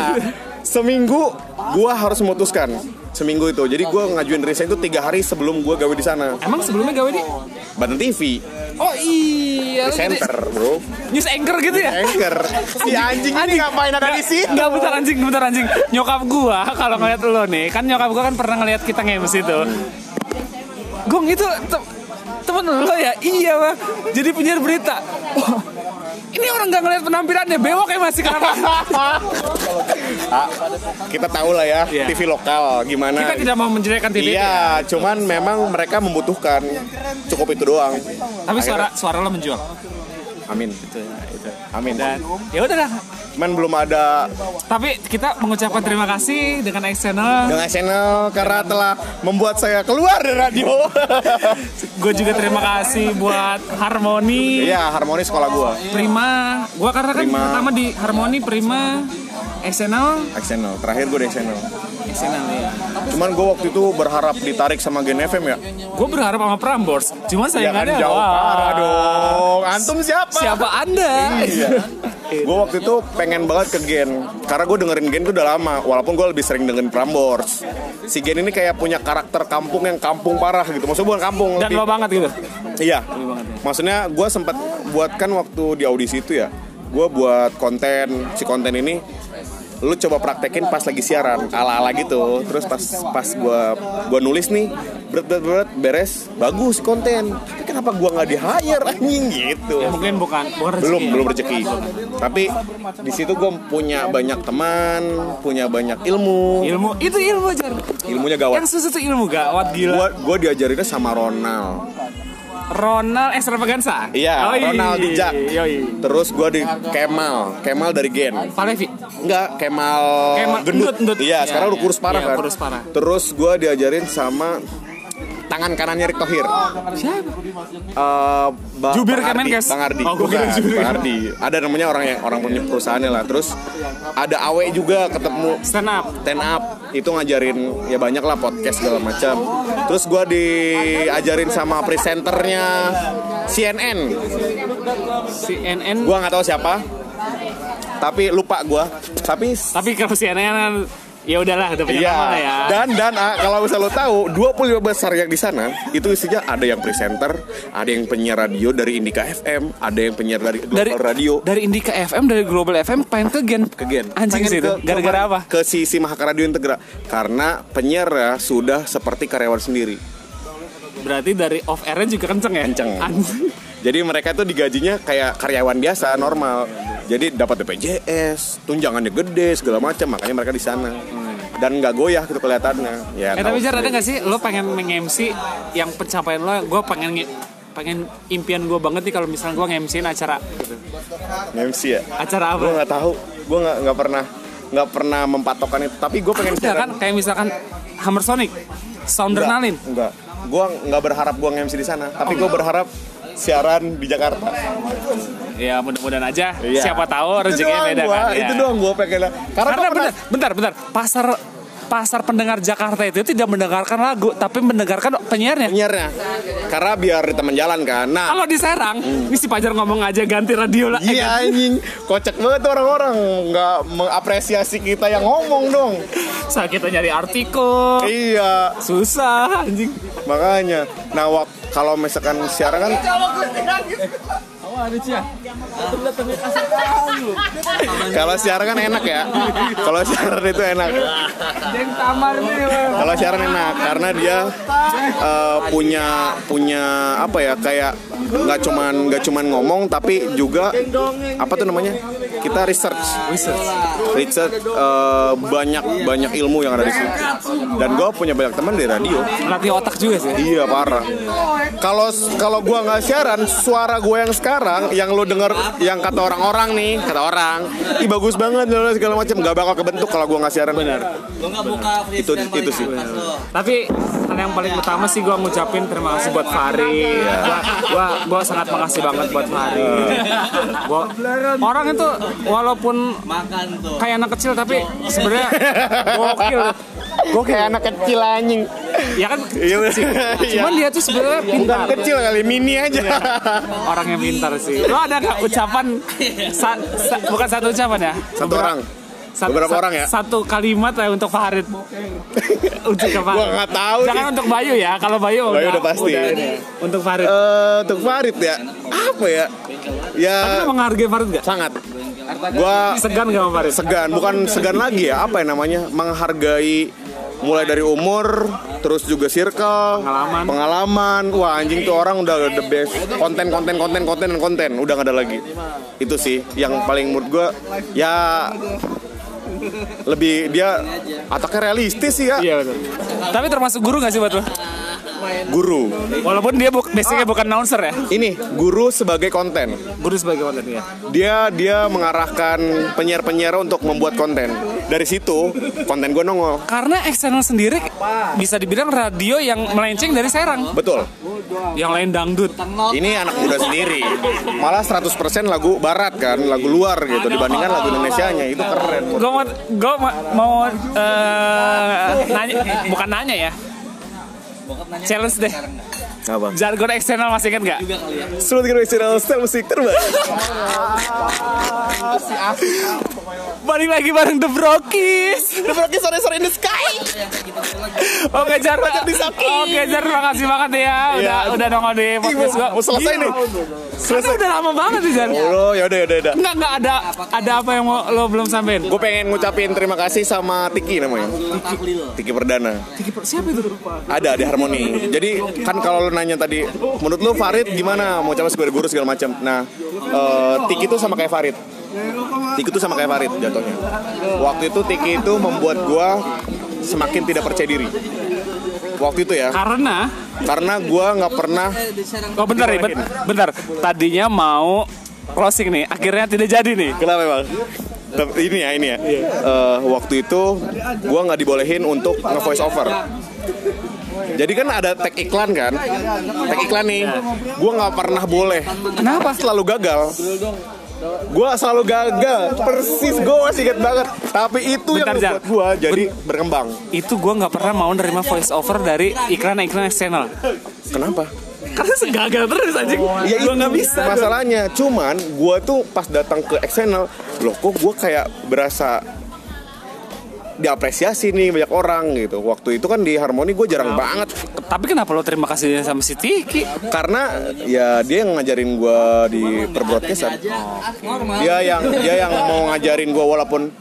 B: Seminggu gua harus memutuskan seminggu itu. Jadi gua ngajuin resign itu tiga hari sebelum gua gawe di sana.
A: Emang sebelumnya gawe di?
B: Banten TV,
A: Oh iya. lo jadi
B: presenter, bro.
A: News anchor gitu ya?
B: Anchor. Si anjing ini ngapain ada di sini?
A: Enggak bentar anjing, bentar anjing. Nyokap gua kalau ngeliat lo nih, kan nyokap gua kan pernah ngeliat kita ngemes itu. Gong itu tem- temen temen lo ya iya bang jadi penyiar berita Wah, ini orang nggak ngeliat penampilannya bewok ya masih kenapa
B: Ah, kita tahu lah ya
A: Iya.
B: TV lokal gimana.
A: kita tidak mau menjelekkan TV
B: Iya, cuman memang mereka membutuhkan cukup itu doang.
A: tapi suara suara lo menjual
B: Amin. Amin.
A: ya, dan ya udahlah
B: Cuman belum ada
A: tapi kita mengucapkan terima kasih dengan X Channel
B: dengan channel karena telah membuat saya keluar dari radio.
A: gue juga terima kasih buat Harmoni
B: Iya, harmoni sekolah gua.
A: Prima gue karena kan
B: Prima.
A: pertama di Harmoni Prima X Channel
B: X Channel. Terakhir gue di X Channel.
A: X Channel ya
B: Cuman gue waktu itu berharap ditarik sama Gen FM ya.
A: gue berharap sama Prambors cuman saya
B: Jangan
A: nggak ada
B: jauh
A: Wah.
B: parah dong. Antum siapa?
A: siapa anda
B: Iya. gue waktu itu pengen banget ke Gen karena gue dengerin Gen tuh udah lama walaupun gue lebih sering dengerin Prambors si Gen ini kayak punya karakter kampung yang kampung parah gitu maksudnya bukan kampung
A: dan
B: lebih-
A: lo ya. banget gitu
B: iya maksudnya gue sempat buatkan waktu di audisi itu ya gue buat konten si konten ini lu coba praktekin pas lagi siaran ala ala gitu terus pas pas gue gua nulis nih beret beret beret beres bagus si konten tapi kenapa gue nggak di hire anjing gitu
A: ya mungkin bukan, bukan rezeki
B: belum
A: ya.
B: belum rezeki tapi di situ gue punya banyak teman punya banyak ilmu
A: ilmu itu ilmu jar
B: ilmunya gawat
A: yang susu itu ilmu gawat gila
B: gue gue diajarinnya sama Ronald
A: Ronald extravaganza
B: iya
A: Yoi.
B: Ronald Dijak
A: Yoi.
B: terus gue di Kemal Kemal dari Gen
A: Palevi
B: Enggak, Kemal,
A: Kemal-
B: gendut.
A: Endut, Endut. Iya,
B: Iya, sekarang udah
A: iya.
B: kurus parah
A: Iya,
B: kan.
A: kurus parah.
B: Terus gue diajarin sama tangan kanannya Erick Thohir.
A: siapa
B: Eh, Ba-
A: Jubir
B: Bang Ardi,
A: Kemenkes.
B: Bang Ardi.
A: Oh, gua kira
B: Bukan,
A: jubir
B: Bang
A: Kemenkes.
B: Ardi. Ada namanya orang yang orang punya perusahaannya lah. Terus ada Awe juga ketemu
A: stand up
B: stand up itu ngajarin ya banyak lah podcast segala macam. Terus gua diajarin sama presenternya CNN.
A: CNN
B: Gua nggak tahu siapa. Tapi lupa gua. Tapi
A: tapi kalau CNN kan, ya udahlah udah punya
B: Iya.
A: nama lah ya
B: Dan dan ah, kalau bisa lo tahu 25 besar yang di sana itu isinya ada yang presenter, ada yang penyiar radio dari Indika FM, ada yang penyiar dari
A: dari
B: Global Radio.
A: dari Indika FM dari Global FM pengen ke Gen
B: Ke Gen.
A: anjing
B: Pengen
A: sih itu
B: ke-
A: gara-gara
B: ke-
A: apa
B: Ke sisi Mahakara Radio Integra karena penyiar sudah seperti karyawan sendiri.
A: berarti dari off airnya juga kenceng ya
B: Kenceng.
A: Anjing.
B: Jadi mereka tuh digajinya kayak karyawan biasa normal. Jadi dapat BPJS, tunjangannya gede segala macam, makanya mereka di sana. Dan nggak goyah gitu kelihatannya. Ya,
A: Hmm. Eh
B: nggak
A: tapi Jar
B: usah.
A: ada gak sih lo pengen meng-MC yang pencapaian lo gue pengen nge- pengen impian gue banget nih kalau misalnya gue nge-MC-in acara
B: MC ya.
A: acara apa?
B: gue nggak tahu gue nggak nggak pernah nggak pernah mempatokkan itu tapi gue pengen
A: Ada kan kayak misalkan Hammer Sonic, Soundernalin.
B: enggak gue nggak berharap gue nge-MC di sana tapi gue berharap siaran di Jakarta
A: Ya mudah-mudahan aja.
B: Iya.
A: Siapa tahu rezekinya
B: doang
A: beda
B: gua,
A: kan. ya.
B: itu doang gue pengen karena,
A: Karena
B: gua pernah-
A: bentar, bentar, bentar. Pasar pasar pendengar Jakarta itu tidak mendengarkan lagu tapi mendengarkan penyiarnya.
B: penyiarnya karena biar di teman jalan kan nah
A: Kalau di Serang, ini si Pajar ngomong aja ganti radio lah. Eh,
B: Hmm. Iya anjing, kocak banget tuh orang-orang nggak mengapresiasi kita yang ngomong dong.
A: Saat kita nyari artikel,
B: Iya,
A: susah anjing.
B: makanya. Nah, wak, kalau misalkan siaran kan Kalau siaran kan enak ya. Kalau siaran itu enak. Kalau siaran enak karena dia eh, punya punya apa ya kayak nggak cuman nggak cuman ngomong tapi juga apa tuh namanya kita research research eh, banyak banyak ilmu yang ada di situ dan gue punya banyak teman di radio
A: Melatih otak juga sih.
B: Iya parah. Kalau kalau gua nggak siaran, suara gua yang sekarang, yang lo denger, yang kata orang-orang nih, kata orang, ih bagus banget lalu segala macam, nggak bakal kebentuk kalau gua nggak siaran. Benar.
D: Lo nggak buka freeze
B: Itu itu sih.
A: Tapi hal yang paling utama sih gue ngucapin terima kasih buat Fahri. Gua, gua, gua sangat makasih banget buat Fahri. Gua- orang itu walaupun
D: Makan tuh.
A: kayak anak kecil tapi sebenarnya gokil.
B: Gua kayak anak kecil anjing.
A: Ya kan
B: Iya.
A: cuman dia Iya. tuh sebenarnya
B: Bukan
A: pintar.
B: kecil kali, mini aja.
A: Orang yang pintar sih. Lo ada gak ucapan sa- sa- bukan satu ucapan ya?
B: Satu orang.
A: Sa-
B: Beberapa
A: sa-
B: orang ya?
A: Satu kalimat lah untuk Farid. untuk ke Farid.
B: Gua nggak tahu
A: Jangan
B: nih.
A: untuk Bayu ya. Kalau Bayu,
B: Bayu udah pasti.
A: ini. untuk Farid.
B: Eh, untuk Farid ya, apa ya? Ya
A: Tapi lo menghargai Farid gak?
B: sangat. Gua
A: Segan gak sama Farid?
B: segan bukan segan lagi ya apa ya namanya menghargai mulai dari umur terus juga circle
C: Pengalaman.
B: pengalaman. wah anjing tuh orang udah the best konten konten konten konten dan konten udah nggak ada lagi itu sih yang paling menurut gua ya lebih dia ataknya realistis sih ya
A: Iya betul. Tapi termasuk guru nggak sih buat lo?
B: guru
A: Walaupun dia bu- basicnya bukan announcer ya.
B: ini guru sebagai konten
A: Guru sebagai konten ya.
B: dia dia mengarahkan penyiar-penyiar untuk membuat konten dari situ konten gue nongol
A: Karena eksternal sendiri bisa dibilang radio yang melenceng dari Serang.
B: betul
A: Yang lain dangdut.
B: ini anak muda sendiri malah 100% lagu barat kan lagu luar gitu dibandingkan lagu Indonesianya itu keren
A: Gue mau, gua ma- mau eh, nanya, bukan nanya ya. Challenge deh.
B: apa
A: Jargon eksternal masih inget nggak?
B: Sulut Giro External Style Musik Terbaik
A: Balik lagi bareng The Brokis.
B: The Brocky Sore Sore in the Sky
A: Oke Jar,
B: disaki.
A: oke Jar, terima kasih banget ya udah
B: Iya.
A: udah nongol di podcast gua.
B: Mau selesai nih
A: Selesai udah lama banget nih Iya. Jar.
B: Oh yaudah yaudah yaudah
A: Enggak enggak ada ada apa yang mau lo belum sampein?
B: Gue pengen ngucapin terima kasih sama Tiki namanya Tiki Perdana
A: Siapa itu?
B: Ada ada harmoni. Jadi kan kalau lu nanya tadi, menurut lu Farid gimana? Mau coba sebagai guru segala macam. Nah, eh, Tiki itu sama kayak Farid. Tiki itu sama kayak Farid jatuhnya. Waktu itu Tiki itu membuat gua semakin tidak percaya diri. Waktu itu ya,
A: Karena
B: karena gua nggak pernah
A: oh bentar nih, ben- bentar. Tadinya mau closing nih, akhirnya tidak jadi nih.
B: Kenapa emang? Tapi Ini ya, ini ya. Eh, waktu itu gua nggak dibolehin untuk nge-voice over. Jadi kan ada tag iklan kan? Tag iklan nih. Gua nggak pernah boleh. Kenapa? Selalu gagal. Gua selalu gagal. Persis gua masih ingat banget. Tapi itu
A: Bentar,
B: yang
A: Jar.
B: membuat gua jadi berkembang.
A: Itu gua nggak pernah mau nerima voice over dari iklan-iklan eksternal.
B: Kenapa?
A: Karena segagal terus anjing.
B: Ya itu
A: gua nggak bisa.
B: masalahnya. Cuman gua tuh pas datang ke eksternal, loh kok gua kayak berasa diapresiasi nih banyak orang gitu. Waktu itu kan di Harmoni gue jarang banget
A: Tapi kenapa lo terima kasih sama si Tiki?
B: karena ya dia yang ngajarin gua di perbroadcastan.
D: "Ah, Normal.
B: Dia yang dia yang mau ngajarin gua walaupun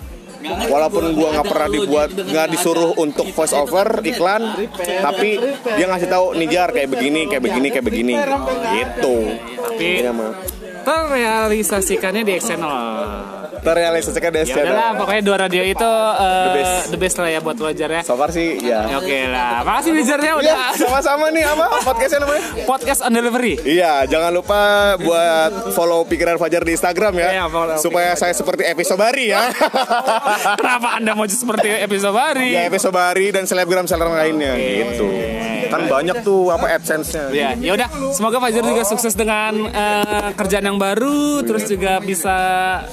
B: walaupun gua nggak pernah dibuat nggak disuruh untuk voice over iklan tapi dia ngasih tahu nih jar kayak begini kayak begini kayak begini gitu
A: Tapi-
B: Iya, mah.
A: Terrealisasikannya di eksternal.
B: terrealisasikan dari
A: Ya udah lah, pokoknya dua radio itu eh, the,
B: best.
A: best. lah ya buat wajar ya.
B: So far sih ya.
A: Ya, Oke lah, makasih Lizardnya udah
B: Iya, sama-sama nih apa podcastnya namanya?
A: podcast on delivery.
B: Iya, jangan lupa buat follow pikiran Fajar di Instagram ya,
A: Iya, follow
B: supaya saya seperti Episobari ya.
A: Kenapa anda mau seperti episode
B: ya
A: hari?
B: Episobari dan selebgram selebgram lainnya gitu. Kan banyak tuh apa adsense-nya.
A: Ya, ya udah. Semoga Fajar juga sukses dengan eh, kerjaan yang baru, terus juga bisa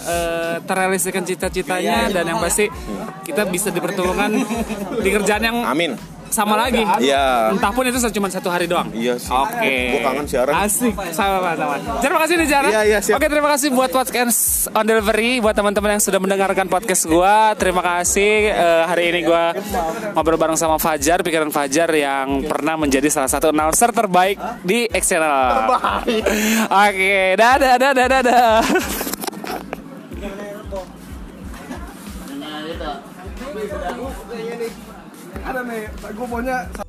A: eh, terrealisasikan cita-citanya dan yang pasti kita bisa dipertemukan di kerjaan yang
B: Amin.
A: sama lagi.
B: Iya.
A: Entah pun itu cuma satu hari doang.
B: Iya sih.
A: Oke.
B: Gua kangen siaran.
A: Asik. Sama sama. Terima kasih nih Jara.
B: Iya, iya, siap.
A: Oke, terima kasih buat podcast on delivery buat teman-teman yang sudah mendengarkan podcast gua. Terima kasih Eh, hari ini gua ngobrol bareng sama Fajar, pikiran Fajar yang pernah menjadi salah satu announcer terbaik di Excel. Oke, dadah dadah dadah.
E: ada nih gue maunya